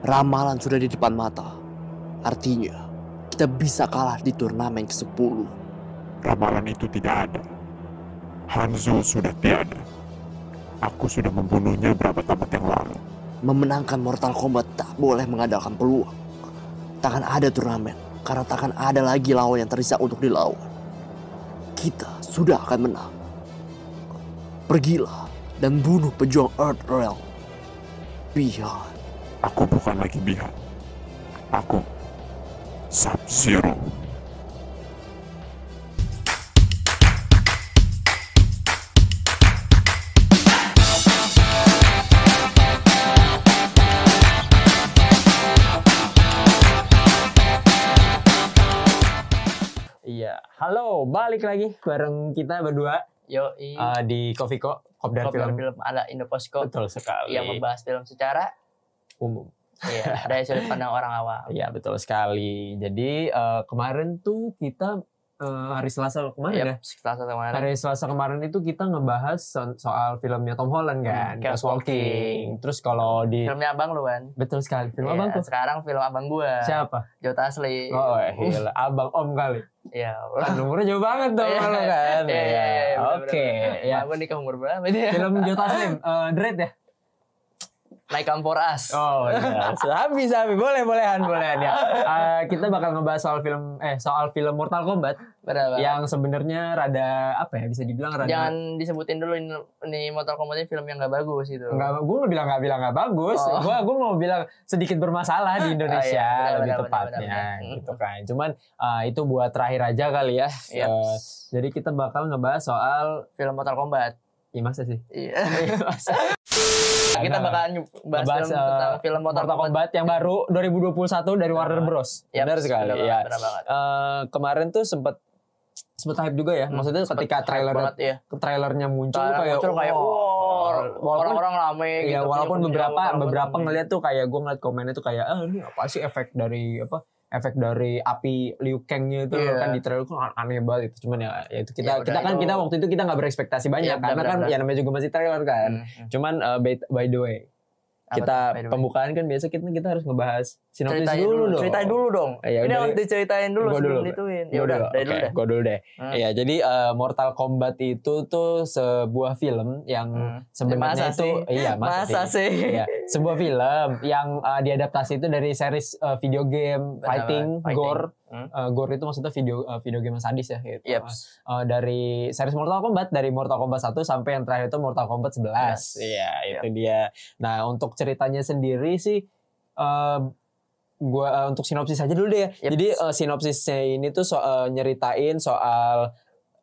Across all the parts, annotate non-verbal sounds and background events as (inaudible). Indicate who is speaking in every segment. Speaker 1: Ramalan sudah di depan mata. Artinya, kita bisa kalah di turnamen ke-10.
Speaker 2: Ramalan itu tidak ada. Hanzo sudah tiada. Aku sudah membunuhnya berapa abad yang lalu.
Speaker 1: Memenangkan Mortal Kombat tak boleh mengandalkan peluang. Takkan ada turnamen, karena takkan ada lagi lawan yang tersisa untuk dilawan. Kita sudah akan menang. Pergilah dan bunuh pejuang Earth Realm. Biar
Speaker 2: Aku bukan lagi Bihan. Aku Sub-Zero.
Speaker 3: Iya, halo, balik lagi bareng kita berdua
Speaker 4: Yo,
Speaker 3: eh, di Coffee Co, Kopdar
Speaker 4: film.
Speaker 3: Film.
Speaker 4: film Iya, ada Indoposko
Speaker 3: Betul sekali.
Speaker 4: yang membahas film secara
Speaker 3: umum.
Speaker 4: ya, (laughs) dari sudut pandang orang awam.
Speaker 3: Iya, betul sekali. Jadi eh, kemarin tuh kita eh, hari Selasa kemarin ya.
Speaker 4: Iya, Selasa kemarin.
Speaker 3: Hari Selasa kemarin itu kita ngebahas so- soal filmnya Tom Holland kan,
Speaker 4: Hmm,
Speaker 3: Chaos
Speaker 4: Chaos
Speaker 3: Walking. Terus kalau di
Speaker 4: Filmnya abang lu kan.
Speaker 3: betul sekali film
Speaker 4: Iya,
Speaker 3: abang tuh
Speaker 4: Sekarang film abang gua.
Speaker 3: siapa?
Speaker 4: Jota Asli.
Speaker 3: Oh, eh,
Speaker 4: (laughs)
Speaker 3: gila. abang Om kali.
Speaker 4: Iya.
Speaker 3: Kan umurnya jauh banget dong
Speaker 4: Iya,
Speaker 3: kalau kan.
Speaker 4: iya, iya, iya,
Speaker 3: (laughs) Iya.
Speaker 4: bener-bener.
Speaker 3: Oke, ya.
Speaker 4: Abang nikah umur berapa
Speaker 3: (laughs)
Speaker 4: dia?
Speaker 3: Film Jota Slim, eh, Dread ya?
Speaker 4: Naik Kampor As.
Speaker 3: Oh,
Speaker 4: iya.
Speaker 3: (laughs) benar. habis habis. Boleh, bolehan, bolehan
Speaker 4: (laughs)
Speaker 3: ya. Eh, kita bakal ngebahas soal film eh soal film Mortal Kombat
Speaker 4: Benar, Bang.
Speaker 3: yang sebenarnya rada apa ya bisa dibilang rada
Speaker 4: Jangan disebutin dulu ini, ini Mortal Kombat film yang gak bagus itu.
Speaker 3: Enggak, gue mau bilang nggak bilang nggak bagus.
Speaker 4: Oh.
Speaker 3: Gue gue mau bilang sedikit
Speaker 4: (laughs)
Speaker 3: bermasalah di Indonesia
Speaker 4: iya, benar,
Speaker 3: lebih
Speaker 4: benar,
Speaker 3: tepatnya
Speaker 4: benar, benar.
Speaker 3: gitu kan. Cuman eh, itu buat terakhir aja kali ya.
Speaker 4: Iya.
Speaker 3: Eh, jadi kita bakal ngebahas soal
Speaker 4: Film Mortal Kombat.
Speaker 3: ya masa sih? (laughs)
Speaker 4: Iya.
Speaker 3: Masa?
Speaker 4: Kita
Speaker 3: Nah,
Speaker 4: bakal nyu- bahas,
Speaker 3: ngebahas,
Speaker 4: film
Speaker 3: eh,
Speaker 4: tentang film Mortal,
Speaker 3: Mortal
Speaker 4: Kombat.
Speaker 3: Kombat yang baru 2021 dari Warner
Speaker 4: banget.
Speaker 3: Bros.
Speaker 4: Yap,
Speaker 3: Benar sekali.
Speaker 4: benar
Speaker 3: ya.
Speaker 4: banget, benar banget.
Speaker 3: Eh, kemarin tuh sempat sempat hype juga ya. Maksudnya
Speaker 4: Hmm. Sempet
Speaker 3: ketika
Speaker 4: hype
Speaker 3: trailer
Speaker 4: banget, iya.
Speaker 3: trailernya muncul
Speaker 4: Trailer
Speaker 3: kayak
Speaker 4: muncul kayak
Speaker 3: "Wah."
Speaker 4: "Wah,
Speaker 3: walaupun
Speaker 4: orang-orang rame
Speaker 3: Iya,
Speaker 4: gitu.
Speaker 3: walaupun
Speaker 4: punya- gitu. punya
Speaker 3: beberapa
Speaker 4: Mortal Kombat
Speaker 3: beberapa
Speaker 4: rame.
Speaker 3: ngeliat tuh kayak gue ngeliat komennya tuh kayak ah ini apa sih efek dari apa efek dari api Liu Kangnya itu
Speaker 4: Iya.
Speaker 3: kan di trailer tuh an- aneh banget itu cuman ya, ya itu
Speaker 4: Ya
Speaker 3: kita
Speaker 4: udah,
Speaker 3: kita kan
Speaker 4: itu-
Speaker 3: kita waktu itu kita nggak berekspektasi banyak
Speaker 4: Iya, benar,
Speaker 3: karena
Speaker 4: benar,
Speaker 3: kan
Speaker 4: benar.
Speaker 3: ya namanya juga masih trailer kan
Speaker 4: Hmm.
Speaker 3: cuman eh, by, by the way
Speaker 4: Apa
Speaker 3: kita
Speaker 4: tuh, by the way?
Speaker 3: pembukaan kan biasa kita kita harus ngebahas sinopsis
Speaker 4: ceritain
Speaker 3: dulu, dong
Speaker 4: Ceritain dulu dong.
Speaker 3: Eh, ya
Speaker 4: ini
Speaker 3: udah,
Speaker 4: harus
Speaker 3: yuk.
Speaker 4: diceritain dulu
Speaker 3: Gua
Speaker 4: sebelum
Speaker 3: dulu.
Speaker 4: dituin. Ya
Speaker 3: Gua
Speaker 4: udah,
Speaker 3: dulu,
Speaker 4: dari dulu
Speaker 3: oke,
Speaker 4: dah.
Speaker 3: gua dulu deh.
Speaker 4: Hmm.
Speaker 3: Iya, jadi eh, Mortal Kombat itu tuh sebuah film yang
Speaker 4: Hmm.
Speaker 3: sebenarnya
Speaker 4: Masa
Speaker 3: itu
Speaker 4: sih?
Speaker 3: iya
Speaker 4: Masa sih?
Speaker 3: Iya, sebuah film yang eh, diadaptasi itu dari series eh, video game
Speaker 4: Benar,
Speaker 3: fighting,
Speaker 4: fighting.
Speaker 3: gore.
Speaker 4: Hmm.
Speaker 3: Eh, gore itu maksudnya video eh, video game yang sadis ya gitu.
Speaker 4: Yep.
Speaker 3: Eh, dari series Mortal Kombat dari Mortal Kombat 1 sampai yang terakhir itu Mortal Kombat 11.
Speaker 4: Yes.
Speaker 3: Iya, itu dia. Nah, untuk ceritanya sendiri sih eh gua eh, untuk sinopsis aja dulu deh ya.
Speaker 4: Yep.
Speaker 3: Jadi eh, sinopsisnya ini tuh so, eh, nyeritain soal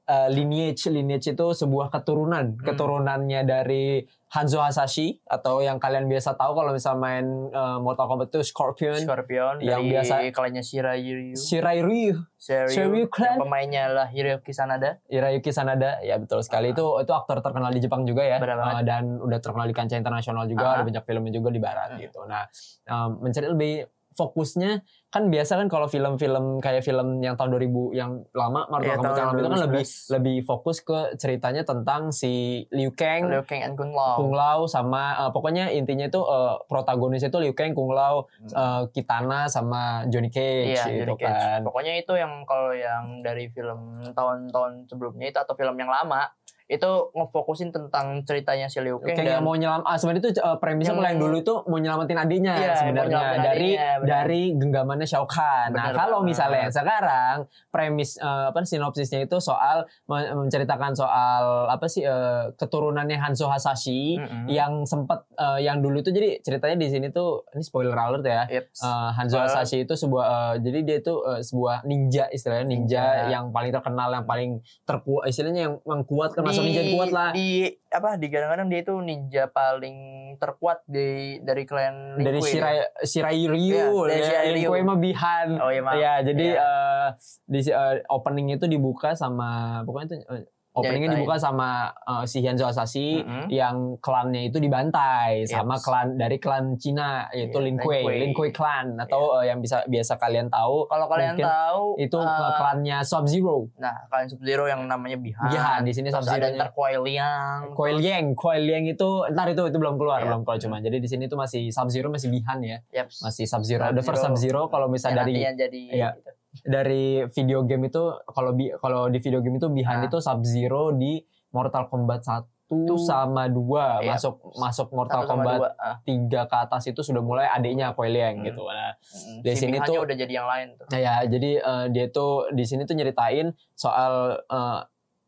Speaker 3: eh, lineage. Lineage itu sebuah keturunan. Keturunannya dari Hanzo Hasashi atau yang kalian biasa tahu kalau misalnya main eh, Mortal Kombat itu Scorpion,
Speaker 4: Scorpion
Speaker 3: Yang
Speaker 4: dari
Speaker 3: biasa-
Speaker 4: klannya Shiryu.
Speaker 3: Shirai Ryu, Shiryu
Speaker 4: Shiryu
Speaker 3: clan.
Speaker 4: yang pemainnya lah Hiroyuki Sanada.
Speaker 3: Hirayuki Sanada. Ya betul sekali itu itu aktor terkenal di Jepang juga ya.
Speaker 4: Ah. Benar banget.
Speaker 3: Eh, dan udah terkenal di kancah internasional juga,
Speaker 4: Ah.
Speaker 3: ada banyak filmnya juga di barat
Speaker 4: Hmm.
Speaker 3: gitu. Nah, eh, mencari lebih fokusnya kan biasa kan kalau film-film kayak film yang tahun 2000 yang lama Mortal
Speaker 4: Iya,
Speaker 3: Kombat
Speaker 4: tahun
Speaker 3: yang lama itu kan lebih
Speaker 4: 2011.
Speaker 3: lebih fokus ke ceritanya tentang si Liu Kang
Speaker 4: Liu Kang and Kun
Speaker 3: Kung
Speaker 4: Lao.
Speaker 3: Lao sama eh, pokoknya intinya itu eh, protagonisnya itu Liu Kang, Kung Lao, eh, Kitana sama Johnny Cage
Speaker 4: Hmm. Iya,
Speaker 3: gitu
Speaker 4: Johnny Cage.
Speaker 3: kan.
Speaker 4: Pokoknya itu yang kalau yang dari film tahun-tahun sebelumnya itu atau film yang lama itu ngefokusin tentang ceritanya si Liu Kang
Speaker 3: Kayak yang
Speaker 4: dan
Speaker 3: mau nyelam ah, sebenarnya itu eh, premisnya
Speaker 4: Yang-
Speaker 3: kalau yang dulu itu mau nyelamatin adiknya
Speaker 4: Iya, mau
Speaker 3: sebenarnya
Speaker 4: nyelamatin
Speaker 3: dari
Speaker 4: adiknya, benar.
Speaker 3: dari genggamannya Shao Kahn. Nah,
Speaker 4: Benar
Speaker 3: kalau
Speaker 4: banget.
Speaker 3: misalnya yang sekarang premis eh, apa sinopsisnya itu soal men- menceritakan soal apa sih eh, keturunannya Hanzo Hasashi
Speaker 4: Mm-mm.
Speaker 3: yang sempat eh, yang dulu itu jadi ceritanya di sini tuh ini spoiler alert ya.
Speaker 4: Yeps.
Speaker 3: Eh, Hanzo
Speaker 4: Soalnya-
Speaker 3: Hasashi itu sebuah eh, jadi dia itu eh, sebuah ninja istilahnya ninja,
Speaker 4: Ninja.
Speaker 3: yang paling terkenal yang paling terkuat istilahnya yang, yang kuat kan masuk
Speaker 4: Di-
Speaker 3: ninja yang kuat lah
Speaker 4: Di apa di kadang-kadang dia itu ninja paling terkuat di dari klan
Speaker 3: dari
Speaker 4: Liquid.
Speaker 3: Shirai Shirai
Speaker 4: ya? Iya,
Speaker 3: Ryu
Speaker 4: dari Shirai
Speaker 3: ya,
Speaker 4: Ryu.
Speaker 3: Linkue mah Bihan.
Speaker 4: Oh iya maaf.
Speaker 3: ya jadi eh, di eh, opening itu dibuka sama pokoknya itu eh, Openingnya dibuka
Speaker 4: Nyeritain.
Speaker 3: sama eh, si Hanzo Asashi
Speaker 4: Mhm.
Speaker 3: yang klannya itu dibantai sama
Speaker 4: Yaps.
Speaker 3: klan dari klan Cina yaitu
Speaker 4: Iya,
Speaker 3: Lin
Speaker 4: Lin
Speaker 3: Kuei,
Speaker 4: Kuei.
Speaker 3: Lin Kuei clan atau eh, yang bisa biasa kalian tahu
Speaker 4: Kalau kalian
Speaker 3: Mungkin
Speaker 4: tahu
Speaker 3: itu
Speaker 4: eh,
Speaker 3: eh, klannya Sub Zero,
Speaker 4: nah kalian Sub Zero yang namanya Bihan.
Speaker 3: Jihan di sini Sub
Speaker 4: Ah, Terus ada
Speaker 3: Zero.
Speaker 4: ntar Koi Liang.
Speaker 3: Coil Yang, Coil Yang itu ntar itu itu belum keluar,
Speaker 4: Iya.
Speaker 3: belum keluar cuman. Jadi di sini itu masih Sub Zero masih Bihan ya,
Speaker 4: Yaps.
Speaker 3: masih Sub Zero. The
Speaker 4: Sub-Zero.
Speaker 3: first Sub Zero kalau
Speaker 4: Yang
Speaker 3: misalnya dari
Speaker 4: nantinya jadi
Speaker 3: Iya.
Speaker 4: gitu.
Speaker 3: dari video game itu kalau bi kalau di video game itu Bihan
Speaker 4: Nah.
Speaker 3: itu Sub Zero di Mortal Kombat 1
Speaker 4: Tuh.
Speaker 3: sama 2
Speaker 4: Iya.
Speaker 3: masuk masuk
Speaker 4: Satu
Speaker 3: Mortal
Speaker 4: sama
Speaker 3: Kombat
Speaker 4: dua. Ah,
Speaker 3: 3 ke atas itu sudah mulai adiknya Koi Liang
Speaker 4: Hmm.
Speaker 3: gitu. Nah,
Speaker 4: mm.
Speaker 3: Di
Speaker 4: Si
Speaker 3: sini
Speaker 4: Bihannya
Speaker 3: tuh-
Speaker 4: udah jadi yang lain tuh.
Speaker 3: nah ya jadi eh, dia tuh di sini tuh nyeritain soal eh,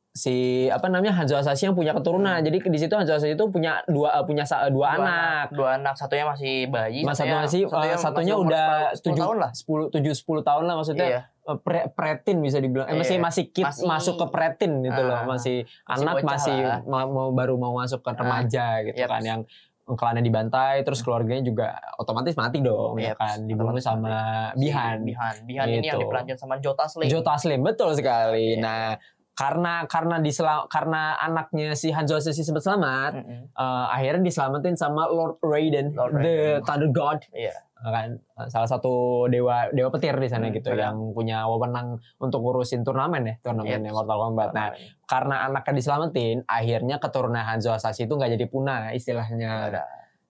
Speaker 3: si apa namanya Hanzo Asashi yang punya keturunan.
Speaker 4: Hmm.
Speaker 3: Jadi di situ Hanzo Asashi itu punya dua eh, punya sa- dua, anak.
Speaker 4: Dua anak, satunya masih bayi.
Speaker 3: Mas satunya masih eh,
Speaker 4: masih
Speaker 3: satunya
Speaker 4: umur
Speaker 3: udah
Speaker 4: 10 tahun lah.
Speaker 3: 10 7 10 tahun lah maksudnya.
Speaker 4: Iya.
Speaker 3: eh, pre pretin bisa dibilang eh, masih
Speaker 4: Iya.
Speaker 3: masih kid
Speaker 4: Masih-
Speaker 3: masuk ke pretin gitu loh
Speaker 4: Ah,
Speaker 3: masih,
Speaker 4: masih
Speaker 3: anak
Speaker 4: bocah
Speaker 3: masih
Speaker 4: lah. Ah,
Speaker 3: ma- mau baru mau masuk ke remaja gitu
Speaker 4: Yep. Hmm.
Speaker 3: kan yang klannya dibantai terus keluarganya juga otomatis mati dong ya
Speaker 4: Yep,
Speaker 3: kan dibunuh
Speaker 4: otomatis
Speaker 3: sama
Speaker 4: Si
Speaker 3: Bihan
Speaker 4: Bihan. Bihan ini yang
Speaker 3: Gitu.
Speaker 4: diperankan sama Jota Sling.
Speaker 3: Joe Taslim betul sekali
Speaker 4: Iya.
Speaker 3: nah karena karena disela- karena anaknya si Hanzo Sisi sempat selamat
Speaker 4: Mm-mm.
Speaker 3: eh, akhirnya diselamatin sama Lord Raiden
Speaker 4: Lord
Speaker 3: the
Speaker 4: Raiden.
Speaker 3: Thunder God
Speaker 4: Iya.
Speaker 3: kan eh, salah satu dewa dewa petir di sana
Speaker 4: Hmm,
Speaker 3: gitu
Speaker 4: benar. Iya.
Speaker 3: yang punya wewenang untuk ngurusin turnamen ya turnamen
Speaker 4: Yep.
Speaker 3: Mortal Kombat. Nah karena anaknya diselamatin, akhirnya keturunan Hanzo Asashi itu nggak jadi punah istilahnya
Speaker 4: Ada.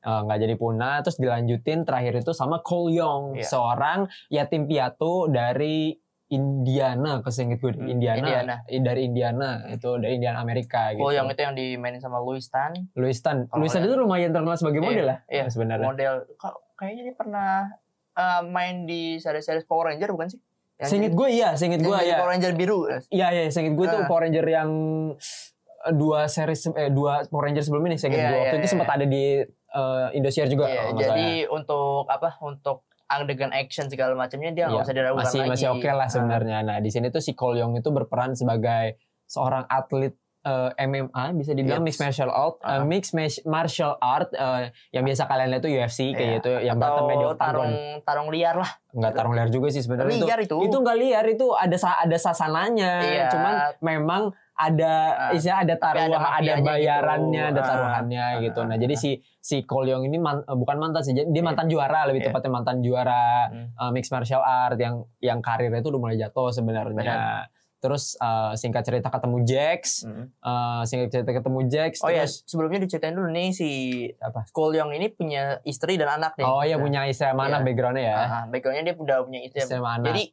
Speaker 3: Eh, nggak jadi punah. Terus dilanjutin terakhir itu sama Cole Young
Speaker 4: Iya.
Speaker 3: seorang yatim piatu dari Indiana kesingkat gue
Speaker 4: Hmm,
Speaker 3: Indiana,
Speaker 4: Indiana.
Speaker 3: Eh, dari Indiana itu dari Indiana Amerika
Speaker 4: Kul yang
Speaker 3: gitu.
Speaker 4: itu yang dimainin sama Louis Tan.
Speaker 3: Louis Tan,
Speaker 4: Kalau
Speaker 3: Louis Tan
Speaker 4: yang-
Speaker 3: itu lumayan terkenal sebagai
Speaker 4: Iya,
Speaker 3: model lah
Speaker 4: iya.
Speaker 3: sebenarnya.
Speaker 4: Model. Kok kayaknya dia pernah eh, main di series-series Power Ranger bukan sih? Yang
Speaker 3: Singit
Speaker 4: jadi-
Speaker 3: gue iya, singit
Speaker 4: yang
Speaker 3: gue
Speaker 4: jadi
Speaker 3: ya.
Speaker 4: Power Ranger biru.
Speaker 3: Iya iya, seinget gue tuh
Speaker 4: Ah.
Speaker 3: Power Ranger yang eh, dua series eh dua Power Ranger sebelum ini seinget
Speaker 4: Iya,
Speaker 3: gue. Waktu
Speaker 4: iya,
Speaker 3: itu
Speaker 4: iya.
Speaker 3: sempat ada di eh, Indosiar juga.
Speaker 4: Iya,
Speaker 3: kalau nggak
Speaker 4: jadi
Speaker 3: salah.
Speaker 4: untuk apa? Untuk adegan action segala macamnya dia
Speaker 3: Iya,
Speaker 4: nggak usah diragukan
Speaker 3: masih
Speaker 4: lagi.
Speaker 3: masih oke lah
Speaker 4: Ah,
Speaker 3: sebenarnya. Nah di sini tuh si Cole Young itu berperan sebagai seorang atlet eh, MMA bisa dibilang mixed
Speaker 4: Yes.
Speaker 3: martial art, eh,
Speaker 4: Ah.
Speaker 3: mixed mas- martial art eh, yang biasa kalian lihat tuh UFC kayak
Speaker 4: Iya.
Speaker 3: gitu, yang
Speaker 4: atau
Speaker 3: berantemnya di
Speaker 4: tarung
Speaker 3: tarung
Speaker 4: tarung liar lah.
Speaker 3: nggak tarung liar juga sih sebenarnya itu.
Speaker 4: liar itu.
Speaker 3: Itu nggak liar itu ada sa- ada sasananya,
Speaker 4: Oh. Iya.
Speaker 3: cuman memang ada
Speaker 4: Ah,
Speaker 3: istilah ada
Speaker 4: tapi ada
Speaker 3: taruhan, ada,
Speaker 4: mafianya gitu.
Speaker 3: bayarannya, ada
Speaker 4: Ah,
Speaker 3: taruhannya
Speaker 4: ah,
Speaker 3: gitu. Nah,
Speaker 4: ah,
Speaker 3: jadi
Speaker 4: ah.
Speaker 3: si si Kolyong ini man- eh, bukan mantan sih, jadi dia mantan juara lebih
Speaker 4: Iya.
Speaker 3: tepatnya mantan juara
Speaker 4: Hmm.
Speaker 3: eh, mixed martial art yang yang karirnya itu udah mulai jatuh sebenarnya. Terus eh, singkat cerita ketemu Jax,
Speaker 4: Mm.
Speaker 3: eh, singkat cerita ketemu Jax
Speaker 4: Oh ya,
Speaker 3: terus
Speaker 4: sebelumnya diceritain dulu nih si
Speaker 3: Apa?
Speaker 4: Cole Young ini punya istri dan anak nih.
Speaker 3: Oh iya punya istri sama anak
Speaker 4: Iya.
Speaker 3: backgroundnya ya.
Speaker 4: Ah, ah, backgroundnya dia udah punya istri.
Speaker 3: Istri sama anak.
Speaker 4: Jadi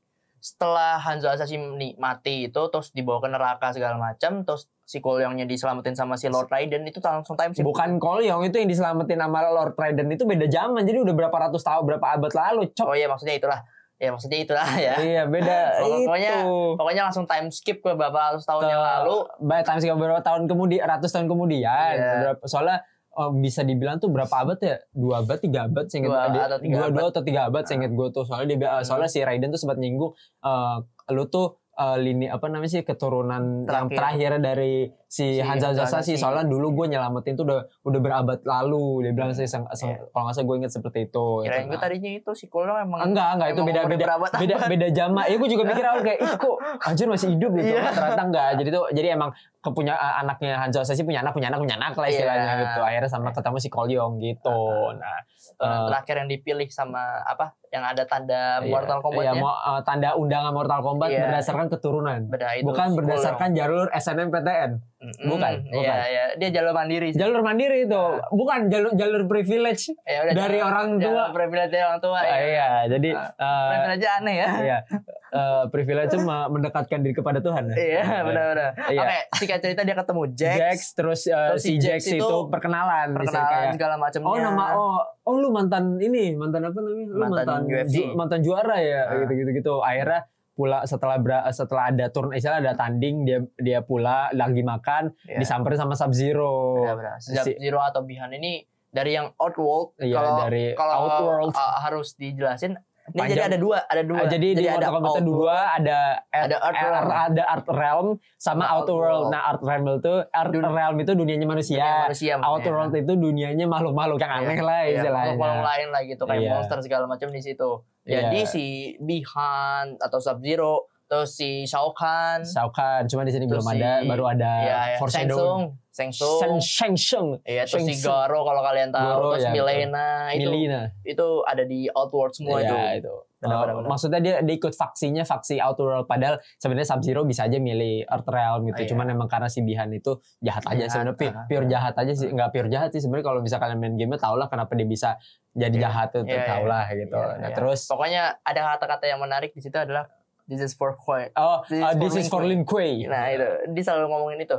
Speaker 4: setelah Hanzo Asashi ni- mati itu terus dibawa ke neraka segala macam terus si Cole Young-nya diselamatin sama si Lord Raiden itu langsung time skip.
Speaker 3: Bukan Kolyong kan itu yang diselamatin sama Lord Raiden itu beda zaman. Jadi udah berapa ratus tahun, berapa abad lalu, cok.
Speaker 4: Oh iya maksudnya itulah. Ya maksudnya itulah ya.
Speaker 3: Iya, beda
Speaker 4: Pokoknya
Speaker 3: itu.
Speaker 4: Pokoknya langsung time skip ke beberapa ratus tahun yang lalu.
Speaker 3: by time skip beberapa tahun kemudian, ratus tahun kemudian.
Speaker 4: Iya.
Speaker 3: Berapa, soalnya eh, bisa dibilang tuh berapa abad ya? Dua abad, tiga abad, seinget
Speaker 4: Dua
Speaker 3: ada-
Speaker 4: atau tiga
Speaker 3: dua, dua
Speaker 4: abad. Nah. Hmm.
Speaker 3: atau tiga abad, seinget gue tuh. Soalnya dia, eh, soalnya si Raiden tuh sempat nyinggung, eh, lu tuh eh, lini apa namanya sih keturunan yang terakhir
Speaker 4: Terakhir.
Speaker 3: dari si,
Speaker 4: Si
Speaker 3: Hanzo
Speaker 4: Hanzo
Speaker 3: Asashi
Speaker 4: Asashi.
Speaker 3: soalnya dulu gue nyelamatin tuh udah udah berabad lalu dia bilang sih seng- seng- kalau nggak salah gue inget seperti itu gitu.
Speaker 4: Iya. Kirain gue
Speaker 3: Nah,
Speaker 4: tadinya itu si Cole Young emang
Speaker 3: Enggak, enggak itu
Speaker 4: emang
Speaker 3: beda
Speaker 4: umur
Speaker 3: beda
Speaker 4: berabad-
Speaker 3: beda beda jama. Ya gue juga mikir awal kayak ih kok anjir masih hidup gitu.
Speaker 4: Iya.
Speaker 3: Ternyata enggak. Jadi tuh jadi emang kepunya eh, anaknya Hanzo Asashi punya anak punya anak punya anak lah istilahnya
Speaker 4: Iya.
Speaker 3: gitu. Akhirnya sama ketemu si Kolyong gitu. Nah, Eh.
Speaker 4: Orang Ah, terakhir yang dipilih sama apa yang ada tanda
Speaker 3: iya.
Speaker 4: Mortal
Speaker 3: Iya,
Speaker 4: Kombat-nya.
Speaker 3: mau eh, tanda undangan Mortal Kombat
Speaker 4: Iya.
Speaker 3: berdasarkan keturunan.
Speaker 4: Beda itu
Speaker 3: Bukan
Speaker 4: si Cole
Speaker 3: berdasarkan jalur SNMPTN.
Speaker 4: Young. Mm-mm.
Speaker 3: bukan,
Speaker 4: Iya,
Speaker 3: bukan.
Speaker 4: iya. Dia jalur mandiri. sih.
Speaker 3: Jalur mandiri itu.
Speaker 4: Ah.
Speaker 3: Bukan jalur jalur privilege.
Speaker 4: Ya udah,
Speaker 3: dari
Speaker 4: jangan-
Speaker 3: orang
Speaker 4: jangan
Speaker 3: tua.
Speaker 4: privilege dari orang tua.
Speaker 3: Ah,
Speaker 4: ya.
Speaker 3: iya, jadi eh,
Speaker 4: Privilege aneh ya.
Speaker 3: iya. Eh, privilege itu me- mendekatkan diri kepada Tuhan. ya?
Speaker 4: (laughs) Iya, benar-benar.
Speaker 3: Iya.
Speaker 4: Oke, singkat cerita dia ketemu Jax,
Speaker 3: Jax, terus, eh,
Speaker 4: Terus
Speaker 3: si Jax, itu, perkenalan, Bisa
Speaker 4: perkenalan
Speaker 3: kayak,
Speaker 4: segala macamnya.
Speaker 3: oh nama oh oh lu mantan ini mantan apa namanya lu
Speaker 4: Mantan
Speaker 3: mantan
Speaker 4: UFC.
Speaker 3: ju- mantan juara ya
Speaker 4: Ah.
Speaker 3: gitu gitu gitu akhirnya pula setelah bera- setelah ada turn istilah ada tanding dia dia pula lagi makan
Speaker 4: Iya.
Speaker 3: disamperin sama Sub Zero
Speaker 4: Benar-benar. Iya, Sejak
Speaker 3: Si-
Speaker 4: Zero atau Bihan ini dari yang Outworld
Speaker 3: Iya,
Speaker 4: kalau
Speaker 3: dari
Speaker 4: kalau
Speaker 3: Outworld.
Speaker 4: uh, harus dijelasin. Ini
Speaker 3: Panjang.
Speaker 4: jadi ada dua, ada dua.
Speaker 3: Ah, jadi, di Mortal Kombat
Speaker 4: Outworld.
Speaker 3: dua ada
Speaker 4: Ada Earth Realm.
Speaker 3: ada Earth Realm sama
Speaker 4: Sama
Speaker 3: Outer World.
Speaker 4: Outworld.
Speaker 3: Nah, Earth Realm itu Earth
Speaker 4: Dun-
Speaker 3: Realm itu dunianya manusia.
Speaker 4: Dunia manusia
Speaker 3: Outer World itu dunianya makhluk-makhluk yang aneh lah istilahnya.
Speaker 4: Kalau Iya. lain lah gitu kayak
Speaker 3: Iya.
Speaker 4: monster segala macam Ya, di situ.
Speaker 3: Iya.
Speaker 4: Jadi si Bihan atau Sub Zero Terus si Shao Kahn,
Speaker 3: Shao Kahn, cuma di sini
Speaker 4: Terus
Speaker 3: belum
Speaker 4: si-
Speaker 3: ada, baru ada
Speaker 4: ya, ya. Shang
Speaker 3: Foreshadowing.
Speaker 4: Tsung, Shang Tsung.
Speaker 3: Shang Shang Tsung.
Speaker 4: Iya, terus si
Speaker 3: Shang Tsung.
Speaker 4: Garo kalau kalian tahu,
Speaker 3: Garo,
Speaker 4: terus
Speaker 3: ya, betul.
Speaker 4: Milena Nah, itu
Speaker 3: Milina.
Speaker 4: itu ada di Outward semua
Speaker 3: Iya,
Speaker 4: itu.
Speaker 3: itu.
Speaker 4: Benar,
Speaker 3: Eh,
Speaker 4: benar, benar.
Speaker 3: maksudnya dia, dia ikut vaksinnya vaksi Outer World padahal sebenarnya Sub Zero bisa aja milih Earth Realm gitu
Speaker 4: Ah, iya.
Speaker 3: cuman emang karena si Bihan itu jahat aja
Speaker 4: Jahat,
Speaker 3: sebenarnya pi-
Speaker 4: ah,
Speaker 3: pure
Speaker 4: ah.
Speaker 3: jahat aja sih nggak pure jahat sih sebenarnya kalau bisa kalian main game-nya tau lah kenapa dia bisa jadi
Speaker 4: Iya.
Speaker 3: jahat itu
Speaker 4: Iya, iya.
Speaker 3: tau lah gitu
Speaker 4: Iya,
Speaker 3: nah
Speaker 4: iya.
Speaker 3: terus
Speaker 4: Pokoknya ada kata-kata yang menarik di situ adalah this is for Koi.
Speaker 3: oh eh,
Speaker 4: This is for
Speaker 3: this is for Lin Kuei
Speaker 4: Nah, itu dia selalu ngomongin itu.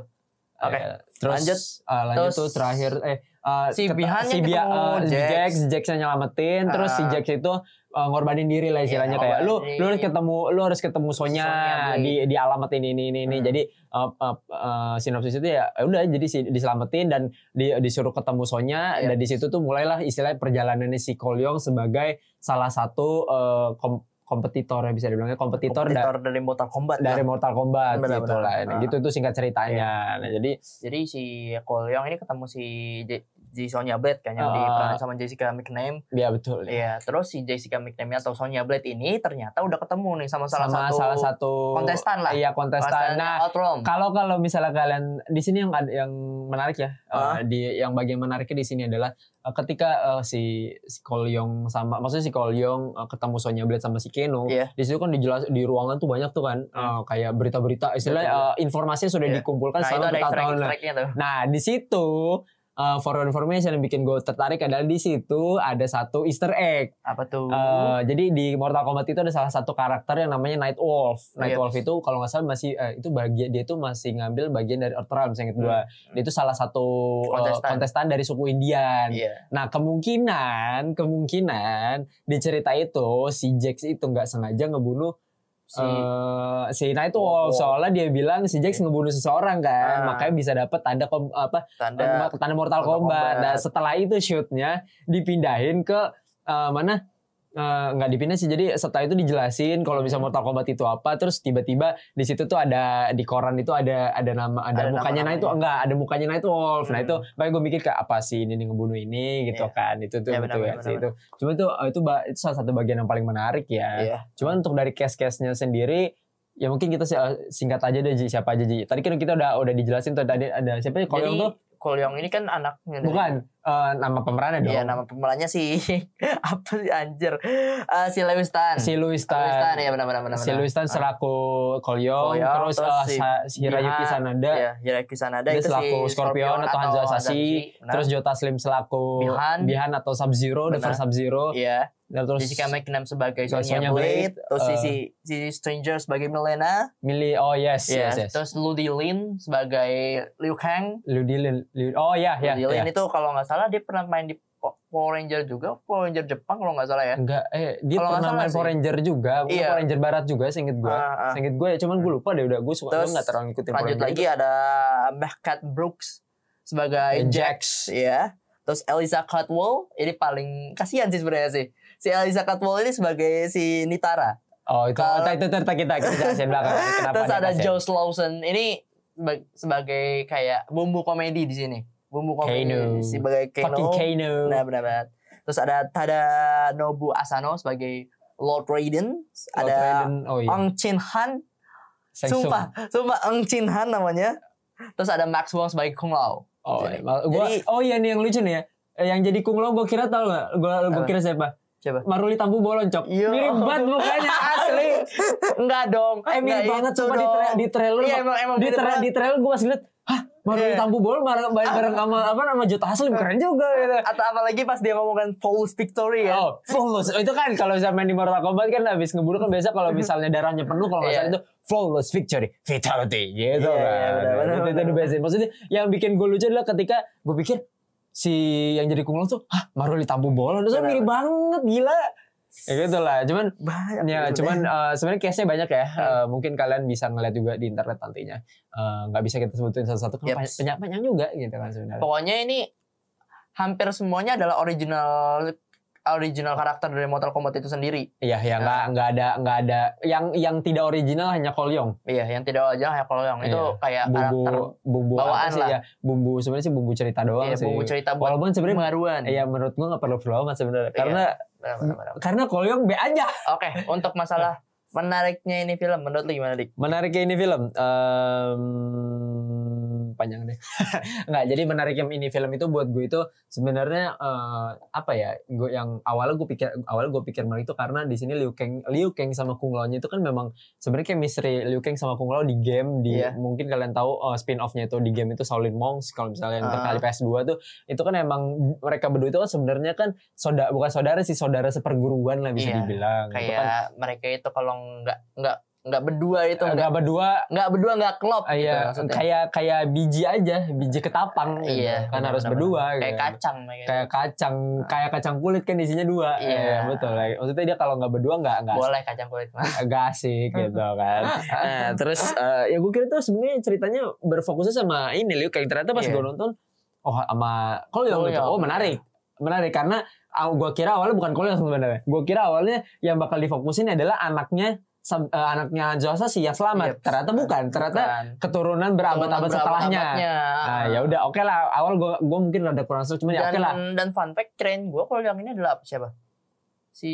Speaker 4: Oke.
Speaker 3: Iya. terus
Speaker 4: Ya, Lanjut.
Speaker 3: eh, lanjut
Speaker 4: Terus
Speaker 3: tuh terakhir eh eh,
Speaker 4: si
Speaker 3: keta-
Speaker 4: Bihan
Speaker 3: si
Speaker 4: yang
Speaker 3: Bia-
Speaker 4: ketemu
Speaker 3: eh,
Speaker 4: Jax.
Speaker 3: Jax, Jaxnya nyelamatin, terus si
Speaker 4: Ah.
Speaker 3: Jax itu eh, ngorbanin diri lah istilahnya
Speaker 4: Iya,
Speaker 3: kayak lu
Speaker 4: ngorbanin.
Speaker 3: lu harus ketemu lu harus ketemu Sonya,
Speaker 4: Sonya, Blake.
Speaker 3: di di alamat ini ini ini, ini.
Speaker 4: Hmm.
Speaker 3: jadi eh, eh, eh, sinopsis itu ya eh, udah jadi si, diselamatin dan di- disuruh ketemu Sonya
Speaker 4: Iya.
Speaker 3: dan di situ tuh mulailah istilahnya perjalanannya si Kolyong sebagai salah satu eh, kom- kompetitor ya bisa dibilangnya kompetitor, da-
Speaker 4: Kompetitor dari Mortal Kombat. kan.
Speaker 3: dari
Speaker 4: lah.
Speaker 3: Mortal Kombat
Speaker 4: Benar,
Speaker 3: gitu
Speaker 4: benar.
Speaker 3: lah Nah,
Speaker 4: Ah. Iya.
Speaker 3: gitu itu singkat ceritanya nah jadi
Speaker 4: Jadi si Kolyong ini ketemu si J- J- Sonya Blade kan yang
Speaker 3: Ah.
Speaker 4: diperan sama Jessica McName.
Speaker 3: ya betul ya.
Speaker 4: Iya, terus si Jessica McName atau Sonya Blade ini ternyata udah ketemu nih sama salah
Speaker 3: sama
Speaker 4: satu
Speaker 3: salah satu
Speaker 4: kontestan lah.
Speaker 3: Iya kontestan.
Speaker 4: Kontestan
Speaker 3: Nah,
Speaker 4: Outroam.
Speaker 3: kalau kalau misalnya kalian di sini yang ada- yang menarik ya,
Speaker 4: Ah.
Speaker 3: eh, di yang bagian menariknya di sini adalah eh, ketika eh, si si Kolyong sama maksudnya si Kolyong eh, ketemu Sonya Blade sama si Keno,
Speaker 4: Iya.
Speaker 3: di situ kan dijelas di ruangan tuh banyak tuh kan eh,
Speaker 4: Hmm.
Speaker 3: kayak berita-berita istilahnya eh, informasinya sudah
Speaker 4: Iya.
Speaker 3: dikumpulkan
Speaker 4: Nah, itu
Speaker 3: selama
Speaker 4: ada
Speaker 3: bertahun-tahun.
Speaker 4: track-tracknya tuh.
Speaker 3: Nah, di situ eh, for your information yang bikin gue tertarik adalah di situ ada satu Easter egg.
Speaker 4: Apa tuh?
Speaker 3: Eh, jadi di Mortal Kombat itu ada salah satu karakter yang namanya Night Wolf. Night
Speaker 4: Iya.
Speaker 3: Wolf itu kalau nggak salah masih eh, itu bagian dia itu masih ngambil bagian dari Earth Realm, seingat gua. Dia itu salah satu eh, kontestan.
Speaker 4: Hmm. Kontestan.
Speaker 3: dari suku Indian.
Speaker 4: Iya.
Speaker 3: Nah kemungkinan kemungkinan di cerita itu si Jax itu nggak sengaja ngebunuh
Speaker 4: Si
Speaker 3: eh, si Night Wolf.
Speaker 4: Wolf. Iya.
Speaker 3: Soalnya dia bilang si Jax ngebunuh seseorang kan,
Speaker 4: Ah.
Speaker 3: makanya bisa dapet tanda kom- apa
Speaker 4: tanda
Speaker 3: tanda Mortal
Speaker 4: Mortal
Speaker 3: Kombat.
Speaker 4: Kombat.
Speaker 3: Nah, setelah itu shootnya dipindahin ke eh, mana? Eh, nggak dipindah sih jadi setelah itu dijelasin kalau bisa Mortal Kombat itu apa terus tiba-tiba di situ tuh ada di koran itu ada ada nama ada,
Speaker 4: Ada
Speaker 3: mukanya nah itu
Speaker 4: nama-namanya.
Speaker 3: enggak ada mukanya Night Wolf nah
Speaker 4: Hmm.
Speaker 3: itu makanya gue mikir kayak apa sih ini nih ngebunuh ini gitu
Speaker 4: Iya.
Speaker 3: kan itu tuh
Speaker 4: Iya,
Speaker 3: gitu
Speaker 4: benar-benar,
Speaker 3: ya sih itu cuma tuh eh, itu, ba- itu salah satu bagian yang paling menarik ya
Speaker 4: Iya.
Speaker 3: cuman untuk dari case-case-nya sendiri ya mungkin kita sih, eh, singkat aja deh Ji, siapa aja Ji tadi kan kita udah udah dijelasin tuh tadi ada siapa ya? Kolyong
Speaker 4: Jadi,
Speaker 3: tuh
Speaker 4: Kolyong ini kan anaknya dari-
Speaker 3: Bukan eh, nama pemerannya dong.
Speaker 4: Iya nama pemerannya si (laughs) apa sih anjir Eh, si Lewis Tan.
Speaker 3: Si Louis
Speaker 4: Lewis
Speaker 3: Tan.
Speaker 4: Tan ya benar-benar benar.
Speaker 3: Si Louis Tan
Speaker 4: Ah.
Speaker 3: selaku Kolyong,
Speaker 4: Kolyong,
Speaker 3: terus,
Speaker 4: terus
Speaker 3: eh,
Speaker 4: si
Speaker 3: Sa- si Hirayuki
Speaker 4: Bihan,
Speaker 3: Sanada,
Speaker 4: Iya, Hiraki Sanada
Speaker 3: Dia
Speaker 4: itu
Speaker 3: selaku
Speaker 4: si
Speaker 3: Scorpion atau Hanzo Asashi,
Speaker 4: benar.
Speaker 3: terus Jota Slim selaku
Speaker 4: Bihan.
Speaker 3: atau Sub Zero, The
Speaker 4: Benar.
Speaker 3: First Sub Zero,
Speaker 4: iya,
Speaker 3: terus
Speaker 4: Jessica McNam sebagai
Speaker 3: Sonya
Speaker 4: Sonya
Speaker 3: Blade,
Speaker 4: Blade, terus si
Speaker 3: eh,
Speaker 4: si si Stranger sebagai Milena,
Speaker 3: Millie, oh yes,
Speaker 4: Iya,
Speaker 3: yes, yes.
Speaker 4: terus Ludi Lin sebagai Liu Kang.
Speaker 3: Ludi Lin, Ludi- oh ya, ya,
Speaker 4: Ludi
Speaker 3: ya.
Speaker 4: Lin itu kalau nggak salah dia pernah main di Po- Power Ranger juga, Power Ranger Jepang kalau nggak salah ya.
Speaker 3: Enggak, eh dia
Speaker 4: Kalau nggak
Speaker 3: pernah
Speaker 4: salah
Speaker 3: main
Speaker 4: sih.
Speaker 3: Power Ranger juga, bukan
Speaker 4: Iya.
Speaker 3: Power Ranger Barat juga, seinget gue.
Speaker 4: Ah, ah.
Speaker 3: Seinget gue ya, cuman gue lupa deh udah gue suka gue
Speaker 4: Terus
Speaker 3: nggak terlalu ngikutin Power
Speaker 4: Lanjut
Speaker 3: Ranger
Speaker 4: lagi
Speaker 3: itu.
Speaker 4: ada Meerkat Brooks sebagai
Speaker 3: Eh,
Speaker 4: Jack.
Speaker 3: Jax.
Speaker 4: ya. Terus Eliza Catwall ini paling kasihan sih sebenarnya sih. Si Eliza Catwall ini sebagai si Nitara.
Speaker 3: Oh itu,
Speaker 4: Kalau-
Speaker 3: oh, itu, itu, itu kita kita jelasin belakang. Kenapa
Speaker 4: (laughs) Terus
Speaker 3: dia
Speaker 4: ada
Speaker 3: kasihan.
Speaker 4: Joe Lawson ini seba- sebagai kayak bumbu komedi di sini. Bumbu komedi
Speaker 3: Kano.
Speaker 4: sebagai
Speaker 3: fucking
Speaker 4: Kano.
Speaker 3: Kano.
Speaker 4: Nah, benar banget. Terus ada Tada Nobu Asano sebagai Lord Raiden.
Speaker 3: Lord
Speaker 4: ada
Speaker 3: Raiden, oh iya.
Speaker 4: Ong Chin Han.
Speaker 3: Sang Sung.
Speaker 4: sumpah, sumpah Ong Chin Han namanya. Terus ada Maxwell sebagai Kung Lao.
Speaker 3: Oh,
Speaker 4: Jadi-
Speaker 3: mal- gua,
Speaker 4: jadi-
Speaker 3: oh iya nih yang lucu nih ya. Eh, Yang jadi Kung Lao gue kira tau gak? Gue gua
Speaker 4: Apa?
Speaker 3: kira siapa?
Speaker 4: Siapa?
Speaker 3: Maruli Tampu Boloncok.
Speaker 4: Yo.
Speaker 3: Mirip banget
Speaker 4: (laughs)
Speaker 3: mukanya asli.
Speaker 4: Enggak dong.
Speaker 3: Eh mirip
Speaker 4: Enggak
Speaker 3: banget
Speaker 4: itu
Speaker 3: coba di,
Speaker 4: dong.
Speaker 3: tra- di trailer.
Speaker 4: Iya emang emang
Speaker 3: di,
Speaker 4: mirip
Speaker 3: tra-
Speaker 4: banget.
Speaker 3: di trailer gue masih liat. Hah? Maruli
Speaker 4: Iya.
Speaker 3: Tampu Bolon bareng, bareng,
Speaker 4: (laughs)
Speaker 3: bareng sama apa nama Jota Haslim keren juga gitu.
Speaker 4: Atau apalagi pas dia ngomongkan Paul's Victory ya.
Speaker 3: Oh, flawless. Itu kan kalau misalnya main di Mortal Kombat kan habis ngebunuh kan biasa kalau misalnya darahnya penuh kalau nggak
Speaker 4: Mm-hmm. Iya.
Speaker 3: salah itu flawless victory, fatality gitu
Speaker 4: Iya, iya,
Speaker 3: kan.
Speaker 4: benar, benar,
Speaker 3: Itu- itu
Speaker 4: benar.
Speaker 3: the best. Maksudnya yang bikin gue lucu adalah ketika gue pikir si yang jadi kunglo tuh, hah Maruli tampu bolon, terus
Speaker 4: Benar.
Speaker 3: mirip banget gila. Ya gitu lah, cuman
Speaker 4: Banyak.
Speaker 3: ya
Speaker 4: sebenarnya.
Speaker 3: cuman eh, sebenarnya case-nya banyak
Speaker 4: Iya.
Speaker 3: ya. Eh, mungkin kalian bisa ngeliat juga di internet nantinya. Eh, Nggak bisa kita sebutin satu-satu kan
Speaker 4: Yep.
Speaker 3: banyak banyak juga gitu kan sebenarnya.
Speaker 4: pokoknya ini hampir semuanya adalah original original karakter dari Mortal Kombat itu sendiri.
Speaker 3: Iya, ya nggak nggak ada nggak ada yang yang tidak original hanya Kolyong.
Speaker 4: Iya, yang tidak wajar hanya kalau yang itu
Speaker 3: Iya.
Speaker 4: kayak karakter
Speaker 3: bumbu bumbu apa
Speaker 4: bawaan
Speaker 3: sih
Speaker 4: lah.
Speaker 3: ya bumbu sebenarnya sih bumbu cerita doang
Speaker 4: iya,
Speaker 3: sih
Speaker 4: bumbu Iya. cerita buat
Speaker 3: walaupun sebenarnya
Speaker 4: pengaruhan.
Speaker 3: ya menurut gua nggak perlu perlu amat sebenarnya karena
Speaker 4: Benar, benar, benar.
Speaker 3: karena kolyong B aja
Speaker 4: Oke, untuk masalah menariknya ini film menurut lu gimana dik
Speaker 3: Menariknya ya ini film em, panjang deh. (laughs) Nggak, jadi menariknya ini film itu buat gue itu sebenarnya eh, apa ya? Gue yang awalnya gue pikir awalnya gue pikir malah itu karena di sini Liu Kang Liu Kang sama Kung Lao-nya itu kan memang sebenarnya chemistry Liu Kang sama Kung Lao di game di
Speaker 4: Iya.
Speaker 3: mungkin kalian tahu eh, spin-off-nya itu di game itu Shaolin Monks kalau misalnya yang
Speaker 4: Ah.
Speaker 3: terkali PS2 tuh itu kan emang mereka berdua itu kan sebenarnya kan saudara bukan saudara sih saudara seperguruan lah bisa
Speaker 4: Iya,
Speaker 3: dibilang. Itu kan
Speaker 4: kayak mereka itu kalau nggak nggak nggak berdua itu nggak
Speaker 3: nggak kan berdua
Speaker 4: nggak berdua nggak klop
Speaker 3: Ah,
Speaker 4: gitu
Speaker 3: Iya,
Speaker 4: maksudnya.
Speaker 3: kayak kayak biji aja, biji ketapang. gitu.
Speaker 4: iya
Speaker 3: kan harus
Speaker 4: benar-benar.
Speaker 3: berdua.
Speaker 4: kayak
Speaker 3: gitu.
Speaker 4: kacang mereka
Speaker 3: Kayak kacang, kayak kacang kulit kan isinya dua.
Speaker 4: Iya.
Speaker 3: betul. Like, Maksudnya dia kalau nggak berdua nggak nggak
Speaker 4: boleh kacang
Speaker 3: Nah,
Speaker 4: kulit
Speaker 3: (laughs) nggak asik gitu kan. Nah,
Speaker 4: (laughs)
Speaker 3: terus eh, ya gue kira tuh sebenarnya ceritanya berfokusnya sama ini Liu Kang. Ternyata pas
Speaker 4: Iya.
Speaker 3: gue nonton, oh sama Kolyong gitu.
Speaker 4: Kolyong.
Speaker 3: Oh menarik, menarik karena gue kira awalnya bukan Kolyong sebenarnya. Gue kira awalnya yang bakal difokusin adalah anaknya sam- eh, anaknya Josa sih yang selamat.
Speaker 4: Iya,
Speaker 3: Ternyata bukan. Ternyata
Speaker 4: Bukan.
Speaker 3: keturunan berabad-abad setelahnya.
Speaker 4: Berabad-abadnya.
Speaker 3: Nah, ya udah oke lah. Awal gua gua mungkin rada kurang seru cuman ya
Speaker 4: Ah. dan
Speaker 3: oke lah.
Speaker 4: dan fun fact keren gue kalau yang ini adalah apa siapa si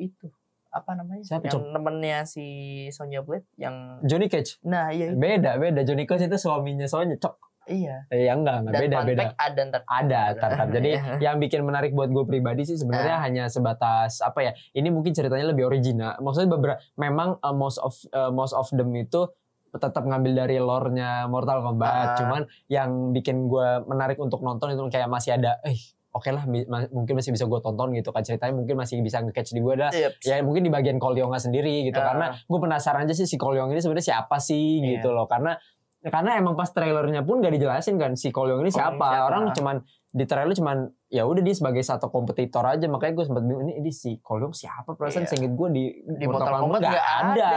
Speaker 4: itu apa namanya
Speaker 3: Siapa,
Speaker 4: yang
Speaker 3: Cok?
Speaker 4: temennya si Sonya Blade yang
Speaker 3: Johnny Cage.
Speaker 4: nah iya
Speaker 3: Beda, beda. Johnny Cage itu suaminya soalnya cok.
Speaker 4: iya
Speaker 3: Eh, ya enggak, enggak
Speaker 4: dan
Speaker 3: beda,
Speaker 4: fun
Speaker 3: beda.
Speaker 4: fact ada ntar
Speaker 3: Ada, tar,
Speaker 4: (laughs)
Speaker 3: tar. Jadi
Speaker 4: Iya. Ah.
Speaker 3: yang bikin menarik buat gue pribadi sih sebenarnya hanya sebatas apa ya? Ini mungkin ceritanya lebih original. Maksudnya beberapa memang uh, most of uh, most of them itu tetap ngambil dari lore-nya Mortal Kombat.
Speaker 4: Ah.
Speaker 3: Cuman yang bikin gue menarik untuk nonton itu kayak masih ada, eh oke lah mi- ma- mungkin masih bisa gue tonton gitu kan ceritanya mungkin masih bisa nge-catch di gue ada
Speaker 4: Yep.
Speaker 3: ya mungkin di bagian Kolyonga sendiri gitu
Speaker 4: Ah.
Speaker 3: karena gue penasaran aja sih si Kolyong ini sebenarnya siapa sih
Speaker 4: Iya.
Speaker 3: gitu loh karena karena emang pas trailernya pun gak dijelasin kan si Kolyong ini siapa.
Speaker 4: Kolyong siapa.
Speaker 3: orang cuman di trailer cuman ya udah dia sebagai satu kompetitor aja makanya gue sempat bingung ini, ini si Kolyong siapa perasaan
Speaker 4: Iya.
Speaker 3: seinget gue di
Speaker 4: di Mortal Kombat nggak ada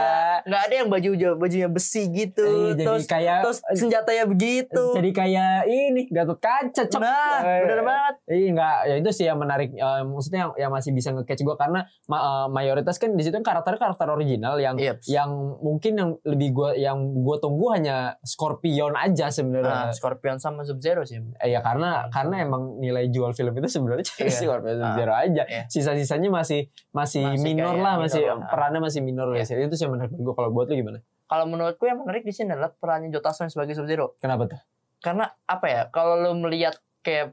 Speaker 4: nggak ada yang baju bajunya besi
Speaker 3: Eh,
Speaker 4: gitu
Speaker 3: jadi
Speaker 4: terus
Speaker 3: kayak
Speaker 4: terus senjatanya begitu
Speaker 3: jadi kayak ini Gatot Kaca cok.
Speaker 4: nah
Speaker 3: Eh,
Speaker 4: bener banget
Speaker 3: Iya enggak, ya itu sih yang menarik eh, maksudnya yang, yang masih bisa nge-catch gue karena ma- eh, mayoritas kan di situ kan karakternya karakter original yang
Speaker 4: Yep.
Speaker 3: yang mungkin yang lebih gua yang gua tunggu hanya Scorpion aja
Speaker 4: Nah,
Speaker 3: sebenarnya.
Speaker 4: Scorpion sama Sub Zero sih
Speaker 3: Eh, ya karena karena emang nilai jual film itu sebenarnya cuma
Speaker 4: Iya.
Speaker 3: Scorpion
Speaker 4: Ah,
Speaker 3: Zero aja.
Speaker 4: iya.
Speaker 3: Sisa-sisanya masih masih,
Speaker 4: Masih
Speaker 3: minor
Speaker 4: kayak
Speaker 3: lah,
Speaker 4: minor
Speaker 3: masih
Speaker 4: lah. Iya.
Speaker 3: perannya masih minor lah. Itu sih yang menarik gue kalau buat lu gimana?
Speaker 4: kalau menurutku yang menarik di sini adalah perannya Jotasun sebagai Sub Zero
Speaker 3: Kenapa tuh?
Speaker 4: karena apa ya kalau lo melihat kayak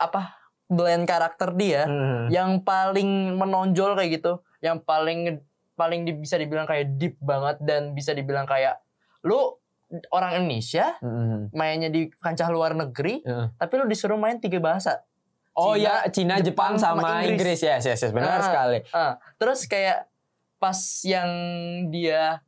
Speaker 4: apa blend karakter dia
Speaker 3: Hmm.
Speaker 4: yang paling menonjol kayak gitu yang paling paling di- bisa dibilang kayak deep banget dan bisa dibilang kayak lu orang Indonesia
Speaker 3: Hmm.
Speaker 4: mainnya di kancah luar negeri
Speaker 3: Heeh.
Speaker 4: tapi lu disuruh main tiga bahasa
Speaker 3: Oh
Speaker 4: Cina,
Speaker 3: ya, Cina, Jepang,
Speaker 4: Jepang sama
Speaker 3: sama Inggris.
Speaker 4: Inggris.
Speaker 3: Yes, yes, yes. Benar
Speaker 4: Ah.
Speaker 3: sekali.
Speaker 4: terus kayak pas yang dia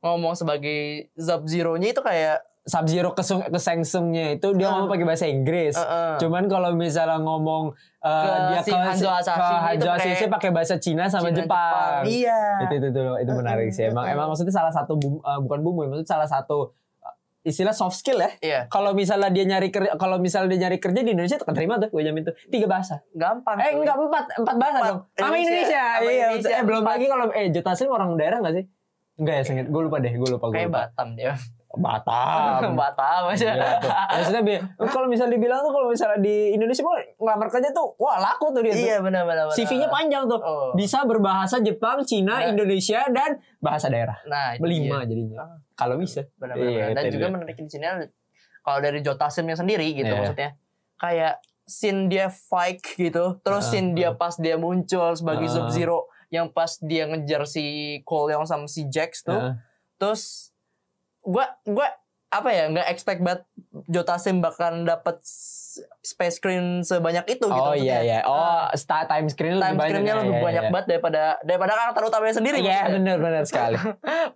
Speaker 4: ngomong sebagai Sub Zero nya itu kayak
Speaker 3: Sub Zero kesengsungnya itu dia
Speaker 4: Ah.
Speaker 3: ngomong pakai bahasa Inggris.
Speaker 4: eh, eh.
Speaker 3: Cuman kalau misalnya ngomong eh,
Speaker 4: Ke
Speaker 3: dia
Speaker 4: si
Speaker 3: ke
Speaker 4: Hanzo Asashi
Speaker 3: ke
Speaker 4: itu
Speaker 3: Hanzo
Speaker 4: pakai
Speaker 3: Asashi pakai bahasa Cina sama
Speaker 4: Cina,
Speaker 3: Jepang.
Speaker 4: iya
Speaker 3: Itu itu itu, itu menarik sih. Emang
Speaker 4: Mm-mm.
Speaker 3: emang maksudnya salah satu bum- eh, bukan bumbu, ya, maksudnya salah satu eh, istilah soft skill ya.
Speaker 4: iya
Speaker 3: Kalau misalnya dia nyari kerja, kalau misalnya dia nyari kerja di Indonesia terima tuh, gue jamin tuh tiga bahasa.
Speaker 4: gampang
Speaker 3: Eh
Speaker 4: cuy.
Speaker 3: enggak empat, empat bahasa
Speaker 4: Empat.
Speaker 3: dong. Sama
Speaker 4: Indonesia.
Speaker 3: Indonesia.
Speaker 4: Sama
Speaker 3: Iya,
Speaker 4: Indonesia,
Speaker 3: eh, belum
Speaker 4: empat.
Speaker 3: lagi kalau eh Jota Slim orang daerah enggak sih? Enggak ya, sengit. Gue lupa deh, gue lupa gue.
Speaker 4: kayak
Speaker 3: lupa. Ah, iya,
Speaker 4: Batam dia
Speaker 3: Batam.
Speaker 4: (laughs) Batam aja.
Speaker 3: Gila tuh. Maksudnya
Speaker 4: (laughs)
Speaker 3: bi- kalau misalnya dibilang tuh kalau misalnya di Indonesia mau ngelamar kerja tuh wah laku tuh dia. tuh.
Speaker 4: Iya benar benar. benar.
Speaker 3: CV-nya panjang tuh.
Speaker 4: Oh.
Speaker 3: Bisa berbahasa Jepang, Cina,
Speaker 4: Nah.
Speaker 3: Indonesia dan bahasa daerah.
Speaker 4: Nah, itu
Speaker 3: Lima
Speaker 4: dia.
Speaker 3: jadinya.
Speaker 4: Ah.
Speaker 3: Kalau bisa.
Speaker 4: Benar benar.
Speaker 3: Iya,
Speaker 4: benar. Dan
Speaker 3: itu
Speaker 4: juga
Speaker 3: dia.
Speaker 4: menarik di sini ada- kalau dari Jotasim yang sendiri gitu
Speaker 3: Iya.
Speaker 4: maksudnya. Kayak scene dia fight gitu, terus
Speaker 3: Ah,
Speaker 4: scene dia pas dia muncul sebagai
Speaker 3: Ah.
Speaker 4: Sub Zero yang pas dia ngejar si Cole yang sama si Jax tuh.
Speaker 3: Nah,
Speaker 4: Terus gua gua apa ya nggak expect banget Jotasim bakal dapat space screen sebanyak itu gitu
Speaker 3: oh iya iya.
Speaker 4: maksudnya.
Speaker 3: Oh, start time screen lebih
Speaker 4: Time
Speaker 3: banyak.
Speaker 4: screen-nya
Speaker 3: ya,
Speaker 4: lebih
Speaker 3: ya,
Speaker 4: banyak
Speaker 3: ya.
Speaker 4: banget daripada daripada karakter utamanya sendiri.
Speaker 3: Iya,
Speaker 4: maksudnya.
Speaker 3: benar benar
Speaker 4: (laughs)
Speaker 3: sekali.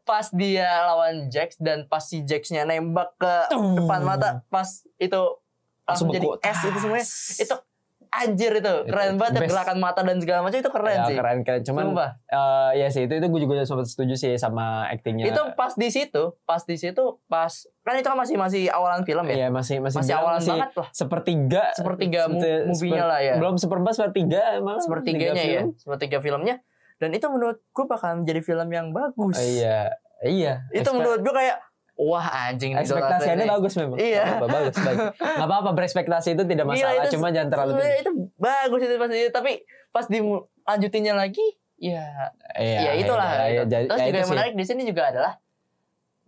Speaker 4: pas dia lawan Jax dan pas si Jaxnya nembak ke
Speaker 3: Tung.
Speaker 4: depan mata pas itu langsung jadi
Speaker 3: beku.
Speaker 4: S itu semuanya itu anjir itu
Speaker 3: Ah. Itu
Speaker 4: keren banget ya,
Speaker 3: best.
Speaker 4: gerakan mata dan segala macam itu keren
Speaker 3: Ya,
Speaker 4: sih
Speaker 3: keren keren. Cuman
Speaker 4: Sumpah.
Speaker 3: eh, ya sih itu itu gue juga sempat setuju sih sama actingnya.
Speaker 4: itu pas di situ pas di situ pas kan itu kan masih masih awalan film ya
Speaker 3: Iya masih masih, bilang
Speaker 4: masih
Speaker 3: eh,
Speaker 4: awalan
Speaker 3: masih
Speaker 4: banget lah
Speaker 3: sepertiga
Speaker 4: sepertiga mu-
Speaker 3: seperti-
Speaker 4: movie-nya lah ya
Speaker 3: belum seperempat sepertiga malah
Speaker 4: sepertiganya
Speaker 3: tiga
Speaker 4: ya
Speaker 3: film.
Speaker 4: sepertiga filmnya dan itu menurut gue bakal menjadi film yang bagus
Speaker 3: Oh, iya iya
Speaker 4: itu
Speaker 3: Ekspe-
Speaker 4: menurut gue kayak wah anjing nih Jonathan
Speaker 3: ekspektasinya
Speaker 4: ini.
Speaker 3: bagus memang
Speaker 4: Iya.
Speaker 3: Gak apa-apa, bagus baik nggak apa-apa berekspektasi itu tidak
Speaker 4: Gila,
Speaker 3: masalah
Speaker 4: Iya, itu
Speaker 3: cuma jangan terlalu
Speaker 4: Sebenarnya itu bagus itu pasti tapi pas dilanjutinnya lagi Iya,
Speaker 3: Iya,
Speaker 4: ya itulah.
Speaker 3: iya,
Speaker 4: gitu.
Speaker 3: jadi-
Speaker 4: Terus
Speaker 3: ya
Speaker 4: juga
Speaker 3: itu
Speaker 4: yang
Speaker 3: sih.
Speaker 4: menarik di sini juga adalah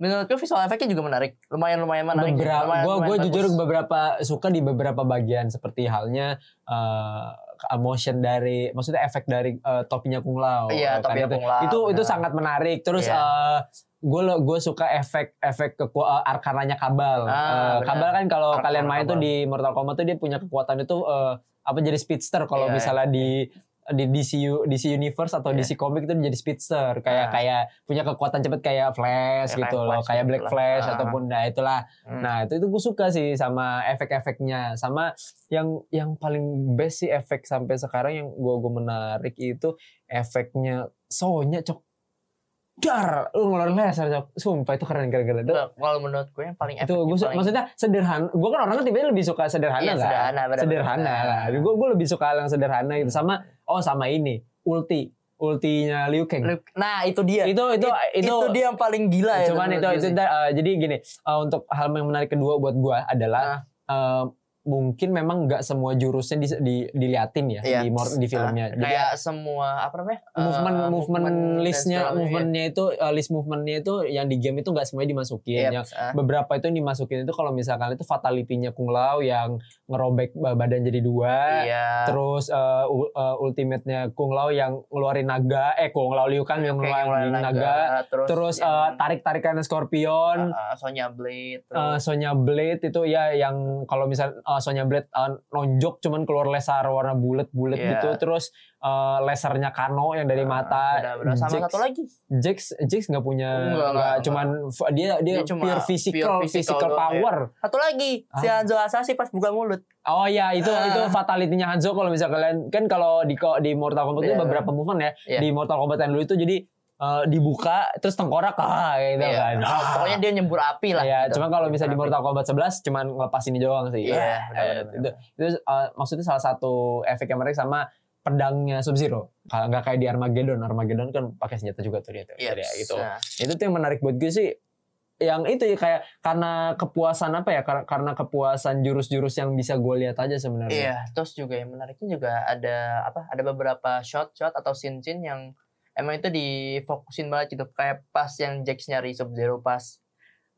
Speaker 4: menurutku visual efeknya juga menarik. Lumayan lumayan menarik.
Speaker 3: beberapa
Speaker 4: ya. lumayan-
Speaker 3: gue
Speaker 4: lumayan
Speaker 3: gue
Speaker 4: bagus.
Speaker 3: jujur beberapa suka di beberapa bagian seperti halnya eh, emotion dari maksudnya efek dari eh, topinya Kung Lao
Speaker 4: Iya,
Speaker 3: kan,
Speaker 4: topi
Speaker 3: itu
Speaker 4: Kung Lao,
Speaker 3: itu, itu
Speaker 4: benar.
Speaker 3: sangat menarik terus eh,
Speaker 4: Iya.
Speaker 3: gue gue suka efek efek ke arkananya kabal
Speaker 4: Ah,
Speaker 3: Eh,
Speaker 4: benar.
Speaker 3: kabal kan kalau
Speaker 4: Arkana
Speaker 3: kalian main tuh
Speaker 4: Kabal.
Speaker 3: di Mortal Kombat tuh dia punya kekuatan itu eh, apa jadi speedster kalau
Speaker 4: Iya,
Speaker 3: misalnya di di DC U- DC Universe atau
Speaker 4: Iya.
Speaker 3: DC komik itu jadi speedster kayak
Speaker 4: Ah.
Speaker 3: kayak punya kekuatan cepet kayak Flash
Speaker 4: Kayak
Speaker 3: gitu
Speaker 4: Flash
Speaker 3: loh kayak
Speaker 4: gitu
Speaker 3: Black
Speaker 4: lah.
Speaker 3: Flash
Speaker 4: Ah.
Speaker 3: ataupun nah itulah
Speaker 4: Hmm.
Speaker 3: Nah itu itu gue suka sih sama efek-efeknya, sama yang yang paling best sih efek sampai sekarang yang gue gue menarik itu efeknya sonya cok dar lu ngeluarin laser cok sumpah itu keren keren keren itu,
Speaker 4: Kalau- kalau menurut gue yang paling
Speaker 3: itu
Speaker 4: efeknya
Speaker 3: gue su-
Speaker 4: paling-
Speaker 3: maksudnya sederhana gue kan orangnya tiba lebih suka sederhana
Speaker 4: Iya,
Speaker 3: kan
Speaker 4: sederhana, benar-benar. Hmm.
Speaker 3: sederhana lah gue gue lebih suka yang sederhana gitu sama oh sama ini ulti ultinya Liu Kang
Speaker 4: Nah itu dia.
Speaker 3: itu itu
Speaker 4: itu,
Speaker 3: itu,
Speaker 4: dia yang paling gila
Speaker 3: Nah,
Speaker 4: ya.
Speaker 3: Cuman
Speaker 4: menurut
Speaker 3: itu
Speaker 4: gue
Speaker 3: itu
Speaker 4: sih.
Speaker 3: ntar, eh, jadi gini eh, untuk hal yang menarik kedua buat gua
Speaker 4: Nah.
Speaker 3: adalah eh, mungkin memang nggak semua jurusnya di, di- diliatin ya
Speaker 4: Iya.
Speaker 3: di mor- di filmnya.
Speaker 4: Ah,
Speaker 3: Jadi ya,
Speaker 4: kayak semua apa namanya?
Speaker 3: movement
Speaker 4: Eh,
Speaker 3: movement
Speaker 4: dan
Speaker 3: listnya
Speaker 4: segala macam,
Speaker 3: movementnya itu eh, list movementnya itu yang di game itu nggak semuanya dimasukin.
Speaker 4: iya.
Speaker 3: Yang
Speaker 4: Yep, ah.
Speaker 3: beberapa itu yang dimasukin itu kalau misalkan itu fatality-nya Kung Lao yang ngerobek eh, badan jadi dua.
Speaker 4: Iya.
Speaker 3: Terus eh, u- eh, ultimate-nya Kung Lao yang ngeluarin naga, eh Kung Lao Liu Kang yang
Speaker 4: Iya, Kayak
Speaker 3: ngeluarin naga.
Speaker 4: terus
Speaker 3: Terus
Speaker 4: yang,
Speaker 3: eh, tarik-tarikan Scorpion,
Speaker 4: Iya. ah, ah, Sonya Blade terus
Speaker 3: Eh, Sonya Blade itu ya yang kalau misal eh, Sonya Blade eh, nonjok cuman keluar laser warna bulat-bulat
Speaker 4: Iya.
Speaker 3: gitu terus eh, lasernya Kano yang dari
Speaker 4: ah,
Speaker 3: mata
Speaker 4: benar-benar. sama
Speaker 3: Jax-
Speaker 4: satu lagi.
Speaker 3: Jax Jax nggak punya
Speaker 4: Enggak,
Speaker 3: nggak,
Speaker 4: enggak,
Speaker 3: cuman f- dia dia,
Speaker 4: Dia cuma
Speaker 3: pure physical
Speaker 4: pure physical
Speaker 3: physical
Speaker 4: doang, iya.
Speaker 3: power
Speaker 4: Satu lagi si
Speaker 3: Ah.
Speaker 4: Hanzo Asashi pas buka mulut.
Speaker 3: oh ya itu
Speaker 4: Ah.
Speaker 3: itu fatality-nya Hanzo kalau misal kalian kan kalau di ko- di Mortal Kombat itu
Speaker 4: Iya.
Speaker 3: beberapa movement ya
Speaker 4: Iya.
Speaker 3: di Mortal Kombat yang dulu itu jadi eh, dibuka terus tengkorak ah gitu kan
Speaker 4: Iya. Ah, Pokoknya dia nyembur api lah.
Speaker 3: Iya,
Speaker 4: gitu.
Speaker 3: cuman kalau misalnya di
Speaker 4: Nyembur api.
Speaker 3: Mortal Kombat 11 cuman ngelepas ini doang sih.
Speaker 4: Iya,
Speaker 3: Eh,
Speaker 4: benar-benar.
Speaker 3: itu, itu eh, maksudnya salah satu efek yang menarik sama pedangnya Sub Zero. Kalau nggak kayak di Armageddon, Armageddon kan pakai senjata juga tuh dia tuh.
Speaker 4: Iya,
Speaker 3: Jadi ya gitu.
Speaker 4: nah,
Speaker 3: Itu tuh yang menarik buat gue sih yang itu ya kayak karena kepuasan apa ya kar- karena kepuasan jurus-jurus yang bisa gue lihat aja sebenarnya.
Speaker 4: Iya, terus juga yang menariknya juga ada apa? Ada beberapa shot-shot atau scene-scene yang emang itu difokusin banget gitu. Kayak pas yang Jax nyari Sub Zero pas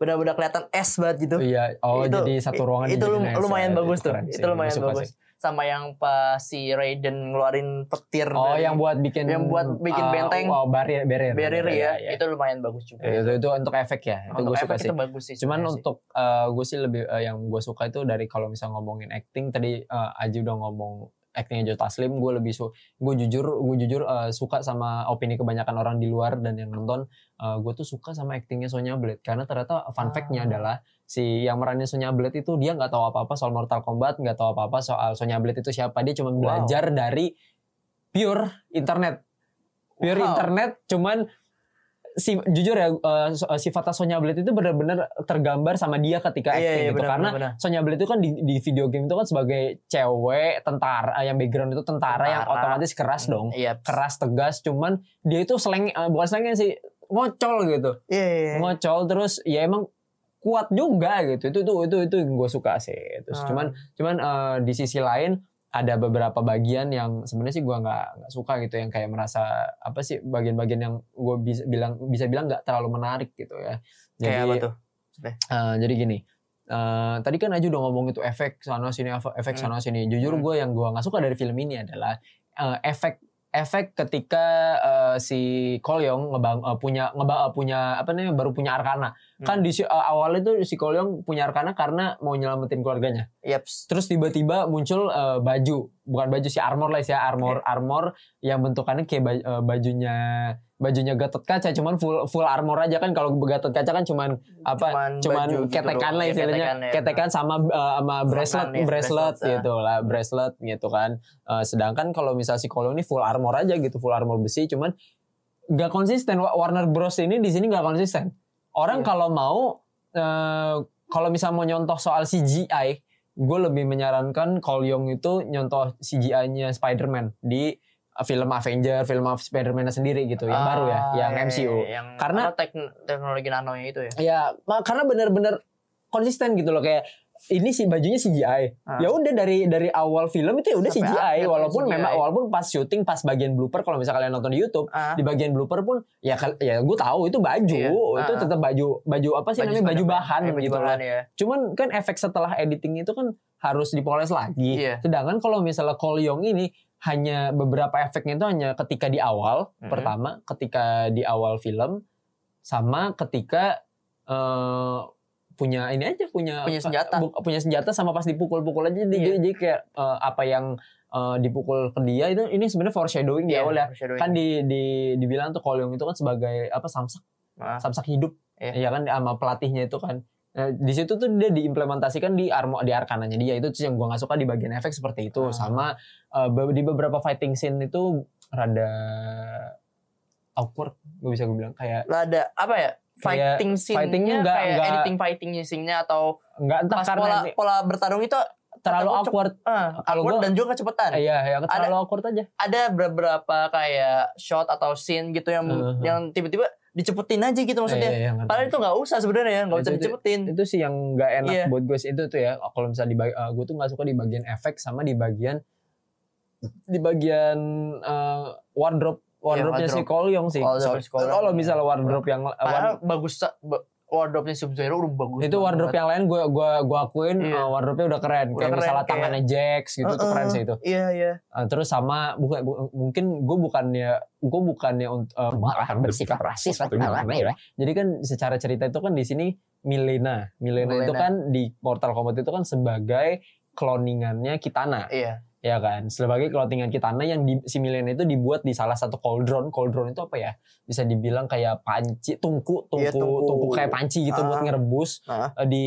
Speaker 4: benar-benar kelihatan es banget gitu.
Speaker 3: Iya, oh
Speaker 4: Itu-
Speaker 3: jadi satu ruangan
Speaker 4: itu
Speaker 3: dijadiin
Speaker 4: lum-
Speaker 3: ASL.
Speaker 4: lumayan
Speaker 3: Itu
Speaker 4: bagus tuh.
Speaker 3: keren sih,
Speaker 4: Itu lumayan
Speaker 3: suka
Speaker 4: bagus.
Speaker 3: sih.
Speaker 4: Sama yang pas si Raiden ngeluarin petir
Speaker 3: Oh,
Speaker 4: dari
Speaker 3: yang buat bikin
Speaker 4: yang buat bikin
Speaker 3: eh,
Speaker 4: benteng.
Speaker 3: oh, barrier barrier.
Speaker 4: barrier
Speaker 3: Iya,
Speaker 4: ya,
Speaker 3: iya.
Speaker 4: itu lumayan bagus juga.
Speaker 3: Ya, itu itu untuk efek ya itu
Speaker 4: Untuk
Speaker 3: gue suka
Speaker 4: efek
Speaker 3: sih
Speaker 4: itu bagus sih.
Speaker 3: cuman
Speaker 4: sebenarnya sih.
Speaker 3: untuk eh, gue sih lebih eh, yang gue suka itu dari kalau misal ngomongin acting tadi eh, Aji udah ngomong actingnya Joe Taslim gue lebih su gue jujur gue jujur eh, suka sama opini kebanyakan orang di luar dan yang nonton eh, gue tuh suka sama actingnya Sonya Blade karena ternyata fun fact-nya
Speaker 4: Ah.
Speaker 3: adalah si yang meranin Sonya Blade itu dia nggak tahu apa-apa soal Mortal Kombat nggak tahu apa-apa soal Sonya Blade itu siapa dia cuma
Speaker 4: Wow.
Speaker 3: belajar dari pure internet pure
Speaker 4: Wow.
Speaker 3: internet cuman si jujur ya eh, so- eh, sifatnya Sonya Blade itu benar-benar tergambar sama dia ketika
Speaker 4: Iya,
Speaker 3: acting
Speaker 4: iya,
Speaker 3: gitu
Speaker 4: benar,
Speaker 3: karena
Speaker 4: benar, benar.
Speaker 3: Sonya Blade itu kan di, di video game itu kan sebagai cewek tentara eh, yang background itu tentara, yang
Speaker 4: Tentara.
Speaker 3: otomatis keras dong
Speaker 4: Iya.
Speaker 3: keras tegas cuman dia itu seleng eh, bukan selengnya sih ngocol gitu
Speaker 4: Iya, iya, iya.
Speaker 3: ngocol terus ya emang kuat juga gitu itu itu itu itu yang gue suka sih terus
Speaker 4: Ah.
Speaker 3: cuman cuman eh, di sisi lain ada beberapa bagian yang sebenarnya sih gue nggak nggak suka gitu yang kayak merasa apa sih bagian-bagian yang gue bisa bilang bisa bilang nggak terlalu menarik gitu ya
Speaker 4: Kayak apa
Speaker 3: jadi
Speaker 4: tuh?
Speaker 3: eh, jadi gini eh, tadi kan aja udah ngomong itu efek sana sini efek efek sana
Speaker 4: Hmm.
Speaker 3: sini jujur
Speaker 4: Hmm.
Speaker 3: gue yang gue nggak suka dari film ini adalah eh, efek efek ketika eh, si Kolyong ngebang eh, punya ngeba- eh, punya apa namanya baru punya Arkana
Speaker 4: Hmm.
Speaker 3: kan di si- eh, awalnya tuh si Kolyong punya Arkana karena mau nyelamatin keluarganya
Speaker 4: Yaps.
Speaker 3: terus tiba-tiba muncul eh, baju bukan baju sih armor lah sih armor armor yang bentukannya kayak ba- eh, bajunya bajunya Gatot Kaca cuman full full armor aja kan kalau Gatot Kaca kan cuman apa
Speaker 4: Cuman
Speaker 3: cuman,
Speaker 4: baju gitu
Speaker 3: ketekan
Speaker 4: doang.
Speaker 3: lah
Speaker 4: Iya,
Speaker 3: istilahnya
Speaker 4: ketekan, ya.
Speaker 3: ketekan sama eh, sama bracelet
Speaker 4: ya,
Speaker 3: bracelet
Speaker 4: bracelet, ah.
Speaker 3: gitu lah bracelet gitu kan Eh, sedangkan kalau misal si Kolo ini full armor aja gitu full armor besi cuman nggak konsisten Wa- Warner Bros ini di sini nggak konsisten orang
Speaker 4: Iya.
Speaker 3: kalau mau eh, kalau misal mau nyontoh soal CGI gue lebih menyarankan Kolyong itu nyontoh CGI-nya Spider-Man di eh, film Avenger, film of Spider-Man sendiri gitu yang baru ya,
Speaker 4: Ah,
Speaker 3: yang
Speaker 4: iya, iya,
Speaker 3: MCU.
Speaker 4: iya, yang
Speaker 3: Karena-
Speaker 4: apa, tekn- teknologi nano itu ya.
Speaker 3: Ya, ma- karena bener-bener konsisten gitu loh kayak ini sih bajunya CGI.
Speaker 4: Ah.
Speaker 3: Ya udah dari dari awal film itu ya udah
Speaker 4: Sampai
Speaker 3: CGI
Speaker 4: akhir
Speaker 3: walaupun
Speaker 4: CGI.
Speaker 3: memang walaupun pas syuting pas bagian blooper kalau misalnya kalian nonton di YouTube
Speaker 4: Ah,
Speaker 3: di bagian blooper pun ya kal- ya gue tahu itu baju
Speaker 4: Iya.
Speaker 3: itu
Speaker 4: Ah.
Speaker 3: tetap baju baju apa sih namanya baju
Speaker 4: Spider-Man.
Speaker 3: bahan
Speaker 4: Eh, baju
Speaker 3: gitu
Speaker 4: bahan
Speaker 3: kan.
Speaker 4: ya
Speaker 3: Cuman kan efek setelah editing itu kan harus dipoles lagi.
Speaker 4: Iya.
Speaker 3: Sedangkan kalau misalnya Kolyong ini hanya beberapa efeknya itu hanya ketika di awal
Speaker 4: Mhm.
Speaker 3: pertama ketika di awal film sama ketika eh, punya ini aja punya
Speaker 4: Punya senjata.
Speaker 3: bu- punya senjata sama pas dipukul-pukul aja jadi,
Speaker 4: Iya.
Speaker 3: jadi- jadi kayak eh, apa yang eh, dipukul ke dia itu ini sebenarnya foreshadowing di
Speaker 4: Iya,
Speaker 3: awal ya
Speaker 4: foreshadowing.
Speaker 3: kan di di dibilang tuh Kolyong itu kan sebagai apa samsak
Speaker 4: Ah.
Speaker 3: samsak hidup ya
Speaker 4: Iya.
Speaker 3: kan sama pelatihnya itu kan Nah, di situ tuh dia diimplementasikan di armo di arkananya dia itu yang gua nggak suka di bagian efek seperti itu
Speaker 4: Ah.
Speaker 3: sama eh, be- di beberapa fighting scene itu rada awkward gue bisa gue bilang kayak
Speaker 4: Lah ada apa ya
Speaker 3: Kayak
Speaker 4: fighting
Speaker 3: Iya, fightingnya
Speaker 4: scene-nya
Speaker 3: nggak-
Speaker 4: kayak
Speaker 3: nggak-
Speaker 4: editing fighting scene-nya atau
Speaker 3: nggak entah
Speaker 4: pas
Speaker 3: karena
Speaker 4: pola
Speaker 3: ini
Speaker 4: pola bertarung itu
Speaker 3: terlalu
Speaker 4: tetap
Speaker 3: awkward
Speaker 4: eh,
Speaker 3: Kalau
Speaker 4: awkward
Speaker 3: gua-
Speaker 4: dan juga kecepetan.
Speaker 3: iya ya terlalu awkward aja
Speaker 4: Ada beberapa kayak shot atau scene gitu yang
Speaker 3: Uh-huh.
Speaker 4: yang tiba-tiba dicepetin aja gitu
Speaker 3: Iya,
Speaker 4: maksudnya.
Speaker 3: iya, ngerti.
Speaker 4: Padahal itu nggak usah sebenarnya, nggak
Speaker 3: Itu-
Speaker 4: usah
Speaker 3: itu-
Speaker 4: dicepetin.
Speaker 3: itu sih yang nggak enak
Speaker 4: Hmm. Iya.
Speaker 3: buat gue sih itu tuh ya kalau misalnya di gue tuh nggak suka di bagian efek sama di bagian di bagian eh, wardrobe wardrobe-nya si
Speaker 4: Iya, wardrobe.
Speaker 3: Kolyong sih. So-
Speaker 4: Wardrobe si Kolyong,
Speaker 3: Kalau
Speaker 4: iya.
Speaker 3: misalnya wardrobe yang eh,
Speaker 4: Padahal
Speaker 3: ward-
Speaker 4: bagus ba- wardrobe-nya Sub Zero udah bagus.
Speaker 3: itu wardrobe yang lain gue gua gua akuin
Speaker 4: Iya.
Speaker 3: eh, wardrobe-nya udah keren.
Speaker 4: Udah
Speaker 3: kayak
Speaker 4: keren,
Speaker 3: misalnya
Speaker 4: kayak-
Speaker 3: tangannya Jax gitu tuh keren sih itu.
Speaker 4: Iya iya.
Speaker 3: Eh, terus sama bukan bu- mungkin gue bukannya gue bukannya untuk marah bersifat rasis atau gimana ya. Jadi kan secara cerita itu kan di sini Milena. Milena, itu
Speaker 4: Milena.
Speaker 3: kan di Mortal Kombat itu kan sebagai kloningannya Kitana,
Speaker 4: Iya.
Speaker 3: ya kan? Sebagai kloningan Kitana yang di, si Milena itu dibuat di salah satu cauldron. Cauldron itu apa ya? Bisa dibilang kayak panci, tungku, tungku,
Speaker 4: Iya,
Speaker 3: tungku,
Speaker 4: tungku.
Speaker 3: kayak panci gitu buat
Speaker 4: Ah.
Speaker 3: ngerebus
Speaker 4: Ah.
Speaker 3: eh, di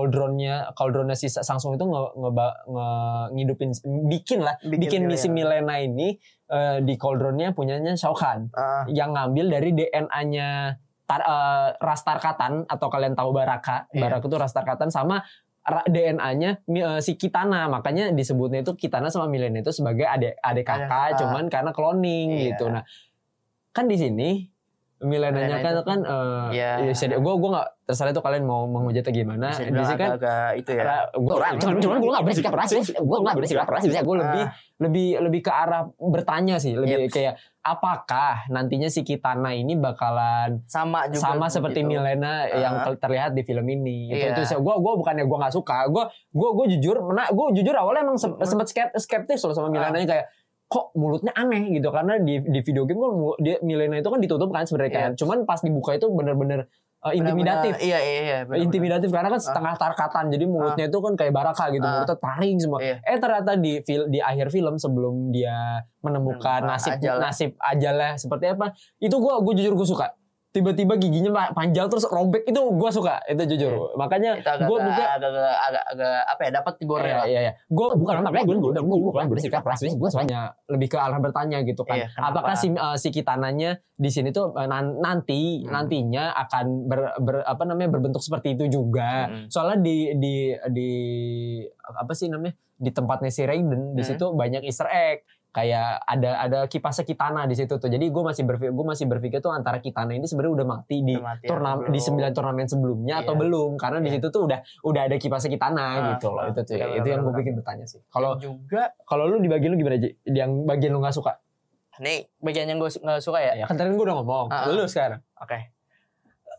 Speaker 3: cauldronnya, cauldronnya si Sangsung itu nge, nge- nge- ngidupin, bikin lah bikin
Speaker 4: Gitu,
Speaker 3: misi
Speaker 4: ya.
Speaker 3: Milena ini eh, di cauldronnya punyanya Shao Kahn
Speaker 4: Ah,
Speaker 3: yang ngambil dari DNA-nya tar, eh, ras Tarkatan atau kalian tahu Baraka
Speaker 4: Iya.
Speaker 3: Baraka itu ras Tarkatan sama ra- DNA-nya mi- eh, si Kitana makanya disebutnya itu Kitana sama Milena itu sebagai adik adik kakak
Speaker 4: Adik kakak.
Speaker 3: cuman karena cloning
Speaker 4: Iya.
Speaker 3: gitu nah kan di sini Milenanya
Speaker 4: Milena
Speaker 3: kan
Speaker 4: itu
Speaker 3: kan
Speaker 4: Iya.
Speaker 3: ya gue gue nggak terserah itu kalian mau menghujatnya gimana
Speaker 4: bisa
Speaker 3: di
Speaker 4: dibilang
Speaker 3: sini kan
Speaker 4: agak itu ya.
Speaker 3: Ra- gua- cuman cuman gue gak bersikap rasis gue gak bersikap rasis gue lebih lebih lebih ke arah bertanya sih lebih
Speaker 4: Yep.
Speaker 3: kayak apakah nantinya si Kitana ini bakalan
Speaker 4: sama juga
Speaker 3: sama seperti
Speaker 4: gitu.
Speaker 3: Milena yang
Speaker 4: Ah.
Speaker 3: ter- terlihat di film ini Gitu. itu
Speaker 4: Iya.
Speaker 3: itu gue gue bukannya gue nggak suka gue gue gue jujur mena gue jujur awalnya emang se-
Speaker 4: Mm-mm.
Speaker 3: sempet skep- skeptis loh sama Milena kayak kok mulutnya aneh gitu karena di di video game kan mu- dia Milena itu kan ditutup kan sebenarnya kan cuman pas dibuka itu bener-bener uh, intimidatif
Speaker 4: Benar-benar- Iya iya iya. benar-benar.
Speaker 3: intimidatif karena kan setengah tarkatan jadi mulutnya itu kan kayak baraka gitu
Speaker 4: Ah.
Speaker 3: mulutnya taring semua
Speaker 4: Iya.
Speaker 3: eh ternyata di fil- di akhir film sebelum dia menemukan
Speaker 4: Menemukan
Speaker 3: nasib
Speaker 4: Hmm, ah, ajalnya.
Speaker 3: nasib ajalnya seperti apa itu gua gua jujur gua suka tiba-tiba giginya ma- panjang terus robek itu gua suka itu jujur makanya
Speaker 4: Iya. Itu agak
Speaker 3: gua
Speaker 4: agak,
Speaker 3: buka
Speaker 4: agak, agak, agak, agak apa ya dapat goreng
Speaker 3: Iya,
Speaker 4: lah.
Speaker 3: iya, iya. Gue bukan makanya gue gue gue bukan bersikap rasis. Gue soalnya lebih ke arah bertanya gitu kan.
Speaker 4: Iya, kenapa?
Speaker 3: Apakah si eh, si kitananya di sini tuh eh, nan- nanti
Speaker 4: Hmm.
Speaker 3: nantinya akan ber, ber- apa namanya berbentuk seperti itu juga.
Speaker 4: Mm-mm.
Speaker 3: Soalnya di di di apa sih namanya di tempatnya si Raiden di
Speaker 4: Hmm.
Speaker 3: situ banyak Easter egg kayak ada ada kipasnya kitana di situ tuh. Jadi gue masih berpikir gue masih berpikir tuh antara kitana ini sebenarnya udah mati di
Speaker 4: Mati ya, atau
Speaker 3: turnamen
Speaker 4: belum.
Speaker 3: di sembilan turnamen sebelumnya atau
Speaker 4: Iya.
Speaker 3: belum karena di
Speaker 4: Iya.
Speaker 3: situ tuh udah udah ada kipas Kitana
Speaker 4: Ah,
Speaker 3: gitu loh
Speaker 4: ah,
Speaker 3: itu tuh ya.
Speaker 4: benar,
Speaker 3: itu yang gue
Speaker 4: benar,
Speaker 3: bikin bertanya sih kalau
Speaker 4: juga
Speaker 3: kalau lu di bagian lu gimana Ji? yang bagian lu nggak suka
Speaker 4: nih bagian yang gue nggak suka
Speaker 3: ya
Speaker 4: ya.
Speaker 3: kan tadi gue udah ngomong
Speaker 4: Ah, ah.
Speaker 3: lu sekarang
Speaker 4: Oke. (laughs)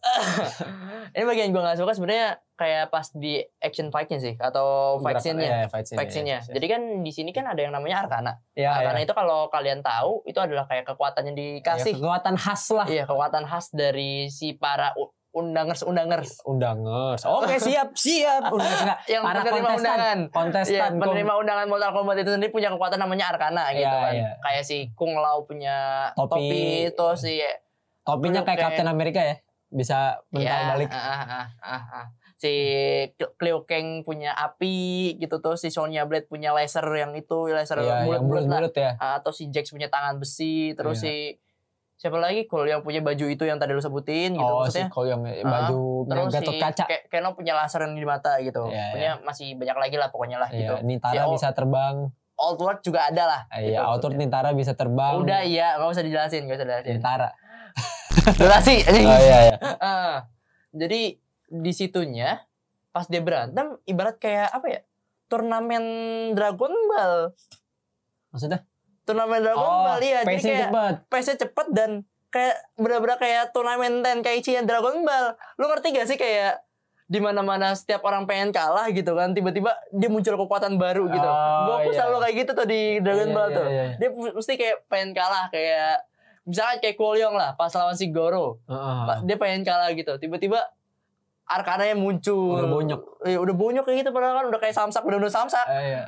Speaker 4: Ini bagian gue nggak suka sebenarnya kayak pas di action fight-nya sih atau Oh, fight
Speaker 3: Gerakan-
Speaker 4: scene-nya.
Speaker 3: ya, fight scene
Speaker 4: Fight scene-nya. Jadi kan di sini kan ada yang namanya Arkana.
Speaker 3: ya, ya,
Speaker 4: Arkana itu kalau kalian tahu itu adalah kayak kekuatan yang
Speaker 3: kasih
Speaker 4: dikasih.
Speaker 3: kekuatan khas lah
Speaker 4: Iya, kekuatan khas dari si para u- undangers-undangers
Speaker 3: undangers
Speaker 4: (laughs)
Speaker 3: oke siap siap undangers nggak
Speaker 4: yang
Speaker 3: Para
Speaker 4: penerima
Speaker 3: kontestan.
Speaker 4: undangan. Iya,
Speaker 3: kontestan
Speaker 4: penerima undangan Mortal Kombat itu sendiri punya kekuatan namanya Arkana gitu
Speaker 3: Iya,
Speaker 4: kan.
Speaker 3: iya.
Speaker 4: Kayak si Kung Lao punya
Speaker 3: Topi.
Speaker 4: topi, terus si
Speaker 3: topinya kayak
Speaker 4: Oke.
Speaker 3: Captain America ya bisa mental
Speaker 4: ya,
Speaker 3: balik
Speaker 4: ah, ah, ah, ah, ah. Si Cl- Liu Kang punya api gitu tuh si Sonya Blade punya laser yang itu laser
Speaker 3: Iya, yang
Speaker 4: bulat-bulat lah.
Speaker 3: bulat-bulat Iya. ya
Speaker 4: Ah, atau si Jax punya tangan besi terus si siapa lagi kalau yang punya baju itu yang tadi lu sebutin gitu
Speaker 3: oh si
Speaker 4: maksudnya.
Speaker 3: Kolyong ya,
Speaker 4: Ah,
Speaker 3: baju yang
Speaker 4: Terus
Speaker 3: gatot
Speaker 4: si
Speaker 3: kaca
Speaker 4: Ke- Keno punya laser yang di mata gitu.
Speaker 3: Iya,
Speaker 4: punya masih banyak lagi lah pokoknya lah gitu.
Speaker 3: Iya,
Speaker 4: Si
Speaker 3: Nintara
Speaker 4: Old-
Speaker 3: bisa terbang
Speaker 4: Old World juga ada lah.
Speaker 3: Iya,
Speaker 4: gitu
Speaker 3: outward
Speaker 4: maksudnya.
Speaker 3: Nintara bisa terbang.
Speaker 4: Udah iya, gak usah dijelasin, gak
Speaker 3: (laughs)
Speaker 4: usah dijelasin. (laughs)
Speaker 3: Nintara. Nah,
Speaker 4: Jelasin. anjing.
Speaker 3: Oh, iya iya.
Speaker 4: Ah, Jadi di situnya pas dia berantem ibarat kayak apa ya turnamen Dragon Ball
Speaker 3: Maksudnya?
Speaker 4: turnamen Dragon
Speaker 3: Oh,
Speaker 4: Ball ya jadi
Speaker 3: pace-nya
Speaker 4: kayak
Speaker 3: cepet.
Speaker 4: pace cepet dan kayak bener-bener kayak turnamen Tenkaichi yang Dragon Ball lu ngerti gak sih kayak di mana mana setiap orang pengen kalah gitu kan tiba-tiba dia muncul kekuatan baru gitu
Speaker 3: Oh,
Speaker 4: Goku
Speaker 3: iya.
Speaker 4: selalu kayak gitu tuh di Dragon
Speaker 3: Iya,
Speaker 4: Ball
Speaker 3: iya,
Speaker 4: tuh
Speaker 3: iya.
Speaker 4: dia mu- mesti kayak pengen kalah kayak misalkan kayak Kolyong lah pas lawan si Goro
Speaker 3: Heeh.
Speaker 4: Pa- dia pengen kalah gitu tiba-tiba Arkananya muncul
Speaker 3: Udah bonyok.
Speaker 4: Iya, udah bonyok kayak gitu padahal kan udah kayak samsak udah udah samsak
Speaker 3: Eh, iya.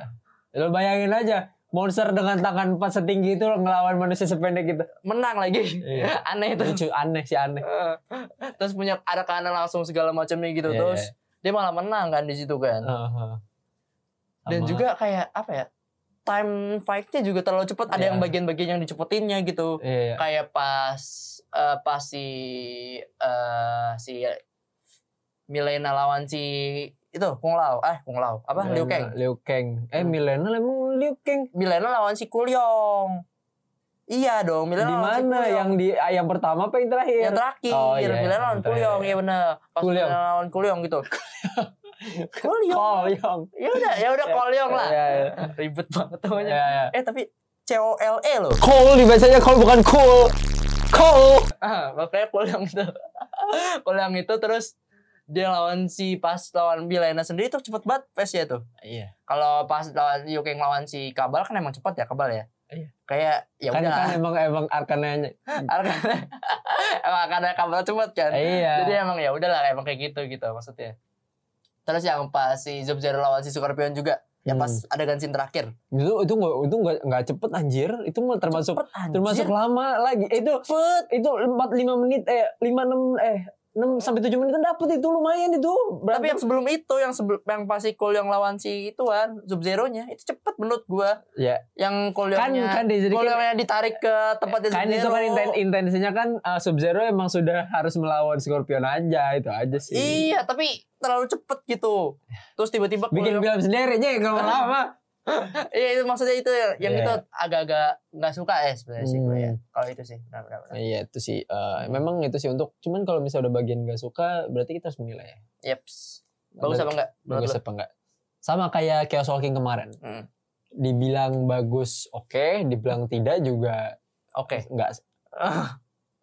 Speaker 3: Lo bayangin aja monster dengan tangan empat setinggi itu ngelawan manusia sependek gitu.
Speaker 4: menang lagi
Speaker 3: Iya.
Speaker 4: (laughs) aneh itu
Speaker 3: Lucu aneh sih aneh.
Speaker 4: Heeh. terus punya Arkana langsung segala macamnya gitu
Speaker 3: Iya,
Speaker 4: terus
Speaker 3: iya.
Speaker 4: dia malah menang kan di situ kan
Speaker 3: Heeh.
Speaker 4: dan
Speaker 3: Sama-
Speaker 4: juga kayak apa ya time fightnya juga terlalu cepat ada
Speaker 3: Iya.
Speaker 4: yang bagian-bagian yang dicepetinnya gitu
Speaker 3: iya. iya.
Speaker 4: kayak pas eh, pas si eh, si Milena lawan si itu Kung Lao eh Kung Lao apa Liu Kang
Speaker 3: Liu Kang. Eh
Speaker 4: Hmm.
Speaker 3: Milena emang Liu Kang.
Speaker 4: Milena lawan si Kulyong iya dong Milena
Speaker 3: Di
Speaker 4: lawan si
Speaker 3: mana
Speaker 4: Kulyong.
Speaker 3: yang di ah, yang pertama apa yang terakhir?
Speaker 4: yang terakhir
Speaker 3: Oh, iya,
Speaker 4: Milena lawan
Speaker 3: yang terakhir.
Speaker 4: Kulyong iya bener pas
Speaker 3: Kulyong.
Speaker 4: Milena lawan Kulyong (laughs) gitu Kulyong
Speaker 3: Koyong.
Speaker 4: ya udah ya udah Kolyong lah
Speaker 3: Iya, iya.
Speaker 4: ribet banget namanya
Speaker 3: Iya, iya.
Speaker 4: eh tapi C O L E loh
Speaker 3: Cole dibacanya Cole bukan cool. Cole.
Speaker 4: (laughs) ah makanya Kolyong itu (laughs) Kolyong itu terus dia lawan si pas lawan Milena sendiri tuh cepet banget pace nya tuh
Speaker 3: Iya.
Speaker 4: kalau pas lawan Liu Kang lawan si Kabal kan emang cepet ya Kabal ya
Speaker 3: Iya.
Speaker 4: kayak ya
Speaker 3: Kan,
Speaker 4: udah
Speaker 3: kan emang emang Arkananya.
Speaker 4: karena (laughs) emang karena Kabal cepet kan
Speaker 3: Iya.
Speaker 4: Jadi emang ya udahlah emang kayak gitu gitu maksudnya. Terus yang pas si Sub Zero lawan si Scorpion juga, yang ya pas
Speaker 3: Hmm.
Speaker 4: adegan scene terakhir.
Speaker 3: itu Hmm. itu nggak itu nggak nggak cepet anjir itu mah termasuk
Speaker 4: Cepet, anjir.
Speaker 3: termasuk lama lagi Eh, itu
Speaker 4: cepet.
Speaker 3: itu empat lima menit eh lima enam eh enam sampai tujuh menit dapet itu lumayan itu
Speaker 4: Tapi yang
Speaker 3: berarti
Speaker 4: sebelum itu yang sebelum yang pas si Cole yang lawan si ituan Sub Zero-nya itu cepet menurut gua.
Speaker 3: ya
Speaker 4: Yang Cole
Speaker 3: kan
Speaker 4: yang
Speaker 3: kan dijadikan-
Speaker 4: ditarik ke ya. tempatnya
Speaker 3: kan itu kan inten- intensinya kan Sub Zero emang sudah harus melawan Scorpion aja itu aja sih
Speaker 4: Iya, tapi terlalu cepet gitu. Terus tiba-tiba
Speaker 3: Ya.
Speaker 4: Cole
Speaker 3: bikin
Speaker 4: yang-
Speaker 3: film sendiri aja kalau
Speaker 4: (laughs)
Speaker 3: lama
Speaker 4: Iya, itu maksudnya itu yang yang
Speaker 3: Iya. Hmm.
Speaker 4: itu agak-agak nggak suka ya sebenarnya sih gue ya. Kalau itu sih benar-benar.
Speaker 3: iya itu sih eh, memang itu sih untuk cuman kalau misalnya udah bagian gak suka berarti kita harus menilai ya
Speaker 4: Yeps. Bagus apa enggak?
Speaker 3: bagus apa enggak Iya sama kayak Chaos Walking kemarin
Speaker 4: Hmm. (laughs)
Speaker 3: dibilang bagus oke dibilang tidak juga
Speaker 4: Oke.
Speaker 3: enggak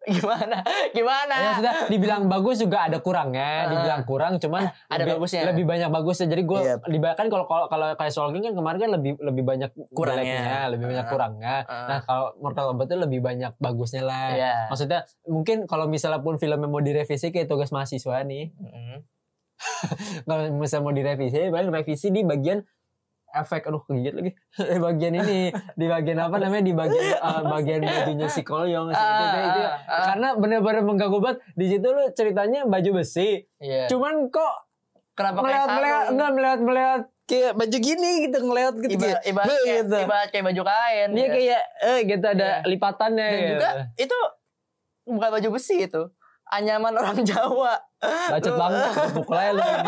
Speaker 4: gimana gimana
Speaker 3: ya sudah dibilang bagus juga ada kurangnya
Speaker 4: Ah.
Speaker 3: dibilang kurang cuman
Speaker 4: (laughs) Ada
Speaker 3: lebih,
Speaker 4: bagusnya.
Speaker 3: lebih banyak bagusnya jadi gue
Speaker 4: Yep.
Speaker 3: dibahkan kalau kalau kalau kayak soal King kan kemarin kan lebih lebih banyak
Speaker 4: Kurangnya.
Speaker 3: jeleknya, lebih banyak
Speaker 4: Ah.
Speaker 3: kurangnya
Speaker 4: Ah.
Speaker 3: nah kalau Mortal Kombat itu lebih banyak bagusnya lah
Speaker 4: Iya.
Speaker 3: maksudnya mungkin kalau misalnya pun filmnya mau direvisi kayak tugas mahasiswa nih
Speaker 4: Mm.
Speaker 3: kalau misalnya mau direvisi ya paling revisi di bagian efek aduh kegigit lagi (laughs) di bagian ini di bagian apa namanya di bagian eh, bagian bajunya si ya, Kolyong si itu, itu, itu.
Speaker 4: Ah, ah, ah.
Speaker 3: gitu, karena bener-bener mengganggu banget di situ lu ceritanya baju besi
Speaker 4: Iya.
Speaker 3: cuman kok
Speaker 4: kenapa kayak
Speaker 3: melihat melihat
Speaker 4: sarung
Speaker 3: enggak melihat melihat kayak baju gini gitu ngelihat gitu
Speaker 4: Iba-
Speaker 3: kayak,
Speaker 4: ibarat
Speaker 3: "Beuh,"
Speaker 4: kayak,
Speaker 3: gitu.
Speaker 4: ibarat kayak baju kain
Speaker 3: dia
Speaker 4: ya.
Speaker 3: kayak eh gitu ada
Speaker 4: Iya.
Speaker 3: lipatannya
Speaker 4: dan
Speaker 3: gitu.
Speaker 4: juga itu bukan baju besi itu anyaman orang Jawa
Speaker 3: bacot
Speaker 4: Lu-
Speaker 3: banget pukul aja
Speaker 4: (laughs)
Speaker 3: lu Iya,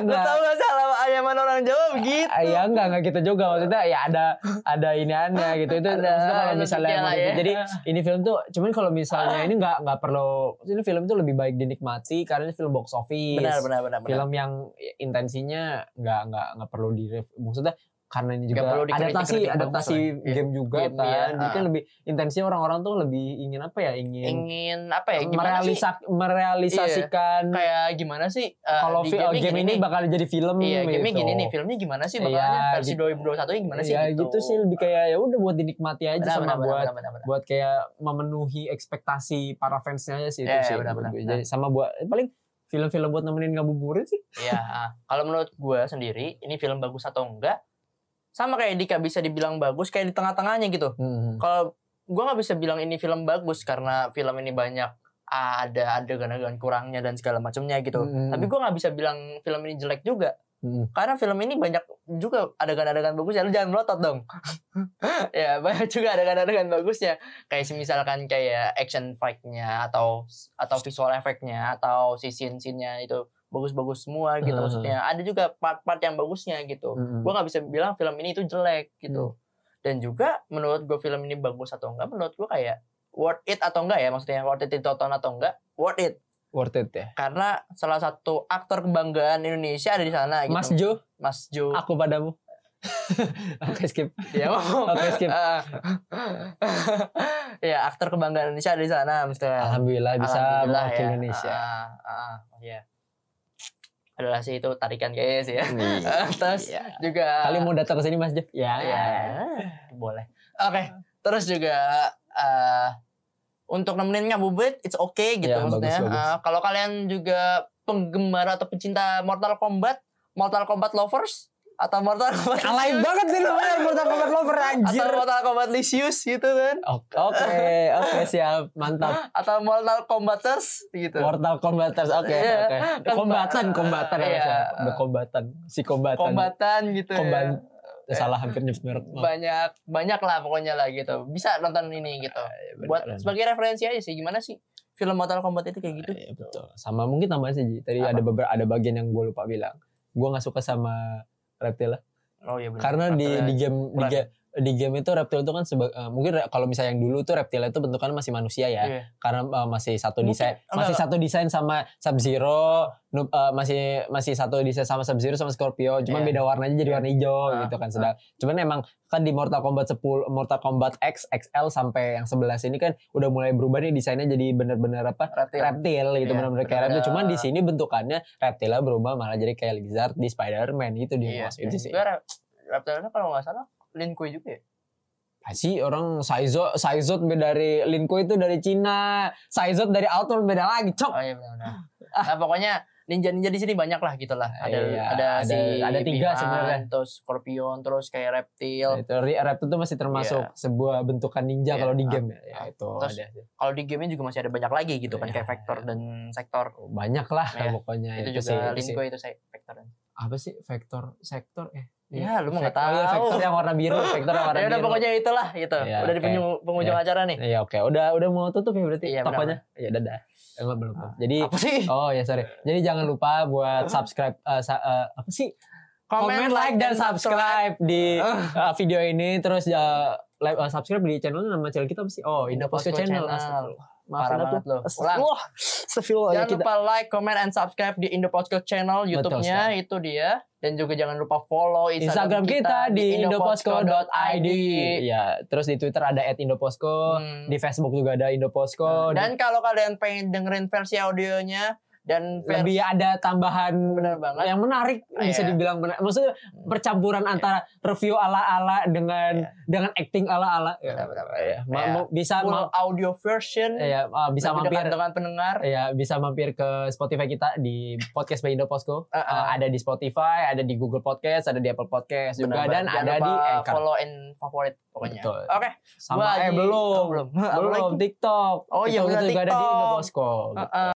Speaker 4: lu
Speaker 3: enggak.
Speaker 4: tau gak sih alamat anyaman orang Jawa begitu
Speaker 3: Ah, ya enggak enggak gitu juga maksudnya ya ada ada iniannya gitu itu
Speaker 4: Ada
Speaker 3: maksudnya kalau misalnya
Speaker 4: nutupnya lah
Speaker 3: mau-
Speaker 4: ya. (laughs)
Speaker 3: jadi ini film tuh cuman kalau misalnya ini enggak enggak perlu ini film tuh lebih baik dinikmati karena ini film box office
Speaker 4: benar benar benar benar
Speaker 3: Iya. film yang intensinya nggak nggak nggak perlu di maksudnya karena ini juga
Speaker 4: Nggak perlu dikritik-kritik
Speaker 3: adaptasi
Speaker 4: bagus
Speaker 3: adaptasi
Speaker 4: lah. Iya.
Speaker 3: game juga
Speaker 4: Game,
Speaker 3: kan
Speaker 4: iya,
Speaker 3: Jadi kan lebih intensinya orang-orang tuh lebih ingin apa ya ingin,
Speaker 4: ingin apa ya gimana sih
Speaker 3: merealisa- merealisasikan
Speaker 4: kayak gimana sih eh,
Speaker 3: kalau
Speaker 4: di
Speaker 3: fi- game,
Speaker 4: gamenya gini
Speaker 3: ini
Speaker 4: nih.
Speaker 3: bakal jadi film
Speaker 4: iya game
Speaker 3: gitu.
Speaker 4: gini nih filmnya gimana sih
Speaker 3: Iya,
Speaker 4: bakalannya versi
Speaker 3: gitu.
Speaker 4: 2021 nya gimana sih
Speaker 3: ya gitu. sih lebih kayak ya udah buat dinikmati aja
Speaker 4: Benar,
Speaker 3: sama
Speaker 4: benar, benar,
Speaker 3: buat
Speaker 4: benar, benar, benar.
Speaker 3: buat kayak memenuhi ekspektasi para fansnya aja sih itu
Speaker 4: Iya, iya,
Speaker 3: sih
Speaker 4: benar,
Speaker 3: menurut
Speaker 4: benar,
Speaker 3: gue.
Speaker 4: benar.
Speaker 3: Jadi sama buat eh, paling film-film buat nemenin ngabuburit sih
Speaker 4: Iya, ah. kalau menurut gue sendiri, ini film bagus atau enggak, sama kayak Dika bisa dibilang bagus, kayak di tengah-tengahnya gitu. Kalau gue nggak bisa bilang ini film bagus karena film ini banyak ah, ada adegan-adegan kurangnya dan segala macamnya gitu.
Speaker 3: Mm-mm.
Speaker 4: Tapi gue nggak bisa bilang film ini jelek juga,
Speaker 3: Mm-mm.
Speaker 4: karena film ini banyak juga adegan-adegan bagusnya. Lu jangan melotot dong. ya banyak juga adegan-adegan bagusnya. Kayak misalkan kayak action fight-nya atau atau visual efeknya atau si scene-scene-nya itu bagus-bagus semua gitu
Speaker 3: Uh-huh.
Speaker 4: maksudnya. Ada juga part-part yang bagusnya gitu.
Speaker 3: Mm-mm.
Speaker 4: Gue nggak bisa bilang film ini itu jelek gitu. Dan juga menurut gue film ini bagus atau enggak, menurut gue kayak worth it atau enggak ya maksudnya worth it ditonton atau enggak worth it
Speaker 3: worth it ya.
Speaker 4: karena salah satu aktor kebanggaan Indonesia ada di sana gitu.
Speaker 3: Mas Ah. Jo,
Speaker 4: Mas Jo.
Speaker 3: aku padamu. (laughs) Oke skip.
Speaker 4: (laughs) ya Om.
Speaker 3: (laughs) Oke, skip.
Speaker 4: Eh, (laughs) ya aktor kebanggaan Indonesia ada di sana misalnya.
Speaker 3: Alhamdulillah bisa
Speaker 4: Alhamdulillah
Speaker 3: mewakili
Speaker 4: ya.
Speaker 3: Indonesia.
Speaker 4: Ah, ah, ah, oh, ya. Adalah sih itu tarikan guys
Speaker 3: (laughs)
Speaker 4: ya.
Speaker 1: Nih.
Speaker 4: Eh, Terus
Speaker 3: Iya.
Speaker 4: juga
Speaker 3: Kali mau datang ke sini Mas Jo? Ya.
Speaker 4: ya boleh. Oke,
Speaker 3: Ah.
Speaker 4: terus juga eh untuk nemenin ngabuburit it's okay gitu
Speaker 3: Ya,
Speaker 4: maksudnya.
Speaker 3: bagus, bagus.
Speaker 4: Eh, kalau kalian juga penggemar atau pencinta Mortal Kombat, Mortal Kombat lovers atau Mortal Kombat
Speaker 3: Alay banget nih lu bener Mortal Kombat lover anjir.
Speaker 4: atau Mortal Kombat Lisius gitu kan
Speaker 3: Oke, oke, oke, siap, mantap.
Speaker 4: atau Mortal Kombaters gitu
Speaker 3: Mortal Kombaters, oke,
Speaker 4: Iya.
Speaker 3: oke. Kombatan, kombatan ya,
Speaker 4: Iya.
Speaker 3: Mas. The kombatan, si kombatan.
Speaker 4: kombatan gitu
Speaker 3: Kombat-
Speaker 4: ya.
Speaker 3: Salah hampir nyebut merek. Maaf.
Speaker 4: banyak banyak lah pokoknya lah gitu bisa nonton ini gitu
Speaker 3: Iya,
Speaker 4: buat
Speaker 3: Ah, Beneran.
Speaker 4: sebagai referensi aja sih gimana sih film Mortal Kombat itu kayak gitu
Speaker 3: Iya, betul. Sama mungkin tambahan sih Ji. Tadi
Speaker 4: Apa?
Speaker 3: ada beberapa ada bagian yang gue lupa bilang. Gue nggak suka sama Reptile
Speaker 4: oh iya benar
Speaker 3: karena di di game di,
Speaker 4: kurang
Speaker 3: ga- di game itu Reptile itu kan seba- eh, mungkin re- kalau misalnya yang dulu tuh Reptile itu bentukannya masih manusia ya.
Speaker 4: Iya.
Speaker 3: Karena eh, masih satu
Speaker 4: Mungkin- Oh,
Speaker 3: desain
Speaker 4: enggak,
Speaker 3: masih
Speaker 4: enggak.
Speaker 3: satu desain sama Sub Zero, masih masih satu desain sama Sub Zero sama Scorpio, cuman
Speaker 4: Iya.
Speaker 3: beda warnanya jadi
Speaker 4: Iya.
Speaker 3: warna hijau
Speaker 4: Ah,
Speaker 3: gitu kan sedang. Cuman emang kan di Mortal Kombat 10, Mortal Kombat X, XL sampai yang 11 ini kan udah mulai berubah nih desainnya jadi bener-bener apa?
Speaker 4: reptil
Speaker 3: reptil gitu
Speaker 4: Iya,
Speaker 3: benar-benar kayak
Speaker 4: benar-benar.
Speaker 3: reptil cuman di sini bentukannya reptilnya berubah malah jadi kayak lizard di Spider-Man gitu di
Speaker 4: iya
Speaker 3: Mas. itu sih
Speaker 4: juga rep- reptilnya kalau nggak salah Lin Kui juga ya
Speaker 3: pasti orang Saizot Saizot beda dari Linko itu dari Cina Saizot dari Outer beda lagi cok
Speaker 4: oh iya benar-benar nah pokoknya ninja ninja di sini banyak lah gitu lah ada
Speaker 3: Iya,
Speaker 4: ada,
Speaker 3: ada-
Speaker 4: si
Speaker 3: ada tiga
Speaker 4: Bihan,
Speaker 3: sebenarnya.
Speaker 4: terus Scorpion terus kayak
Speaker 3: Nah,
Speaker 4: reptil
Speaker 3: itu re- reptil itu masih termasuk sebuah bentukan ninja
Speaker 4: Iya,
Speaker 3: kalau di
Speaker 4: ah,
Speaker 3: game ya, Ya, itu
Speaker 4: Terus-
Speaker 3: ada sih.
Speaker 4: kalau di gamenya juga masih ada banyak lagi gitu kan
Speaker 3: Iya,
Speaker 4: kayak vektor
Speaker 3: iya.
Speaker 4: dan sektor
Speaker 3: banyak lah
Speaker 4: Iya,
Speaker 3: pokoknya
Speaker 4: itu,
Speaker 3: itu, sih,
Speaker 4: juga
Speaker 3: itu
Speaker 4: link
Speaker 3: sih.
Speaker 4: gue itu saya vektor
Speaker 3: apa sih vektor sektor eh
Speaker 4: Ya, lu mah nggak
Speaker 3: Vektor- oh iya,
Speaker 4: tahu.
Speaker 3: vektor yang warna biru vektor yang warna
Speaker 4: (laughs) ya udah
Speaker 3: biru
Speaker 4: pokoknya itulah gitu
Speaker 3: Iya,
Speaker 4: udah di
Speaker 3: oke.
Speaker 4: penyu- penghujung acara nih
Speaker 3: Iya oke, udah udah mau tutup ya berarti
Speaker 4: Iya, benar.
Speaker 3: tokonya. Ya dadah. Enggak belum. belum. Jadi
Speaker 4: apa sih
Speaker 3: Oh ya sorry. Jadi jangan lupa
Speaker 4: Ah.
Speaker 3: buat subscribe eh, sa- eh, apa sih? Comment, like, dan subscribe di
Speaker 4: Ah.
Speaker 3: eh, video ini terus ya like, eh, subscribe di channel nama channel kita apa sih? Oh, Indo Posko
Speaker 4: Posko
Speaker 3: Channel.
Speaker 4: Channel.
Speaker 3: Astagfirullah. Maaf
Speaker 4: parah
Speaker 3: Indo
Speaker 4: banget loh ulang
Speaker 3: Astagfirullah. Astagfirullah ya
Speaker 4: jangan
Speaker 3: kita.
Speaker 4: lupa like comment and subscribe di Indo Podcast channel YouTube-nya itu dia dan juga jangan lupa follow
Speaker 3: Instagram kita di indoposko.id. Ya, terus di Twitter ada @indoposko,
Speaker 4: Hmm.
Speaker 3: di Facebook juga ada Indoposko.
Speaker 4: dan kalau kalian pengen dengerin versi audionya dan versi
Speaker 3: lebih ada tambahan
Speaker 4: benar banget
Speaker 3: yang menarik
Speaker 4: Ah,
Speaker 3: bisa
Speaker 4: iya. Hmm.
Speaker 3: dibilang benar. Maksudnya percampuran antara review ala-ala dengan
Speaker 4: Iya.
Speaker 3: dengan acting ala-ala. Ya.
Speaker 4: Benar, benar, benar.
Speaker 3: Iya. Ma-
Speaker 4: Iya.
Speaker 3: mau- bisa
Speaker 4: full
Speaker 3: mau-
Speaker 4: audio version
Speaker 3: iya, ah, bisa
Speaker 4: lebih dekat
Speaker 3: mampir
Speaker 4: dengan pendengar
Speaker 3: ya bisa mampir ke Spotify kita di podcast by Indo Posko.
Speaker 4: Ah, ah.
Speaker 3: Ah, ada di Spotify, ada di Google Podcast, ada di Apple Podcast juga dan
Speaker 4: Benar, jangan
Speaker 3: ada
Speaker 4: lupa
Speaker 3: di Anchor.
Speaker 4: follow and favorit pokoknya
Speaker 3: Betul.
Speaker 4: oke
Speaker 3: Sama
Speaker 4: gua
Speaker 3: eh
Speaker 4: lagi-
Speaker 3: belum.
Speaker 4: Oh, belum (laughs)
Speaker 3: Belum TikTok.
Speaker 4: Oh,
Speaker 3: TikTok
Speaker 4: iya,
Speaker 3: itu juga
Speaker 4: benar,
Speaker 3: ada di
Speaker 4: TikTok.
Speaker 3: Indo Posko.
Speaker 4: Ah,
Speaker 3: gitu.
Speaker 4: ah.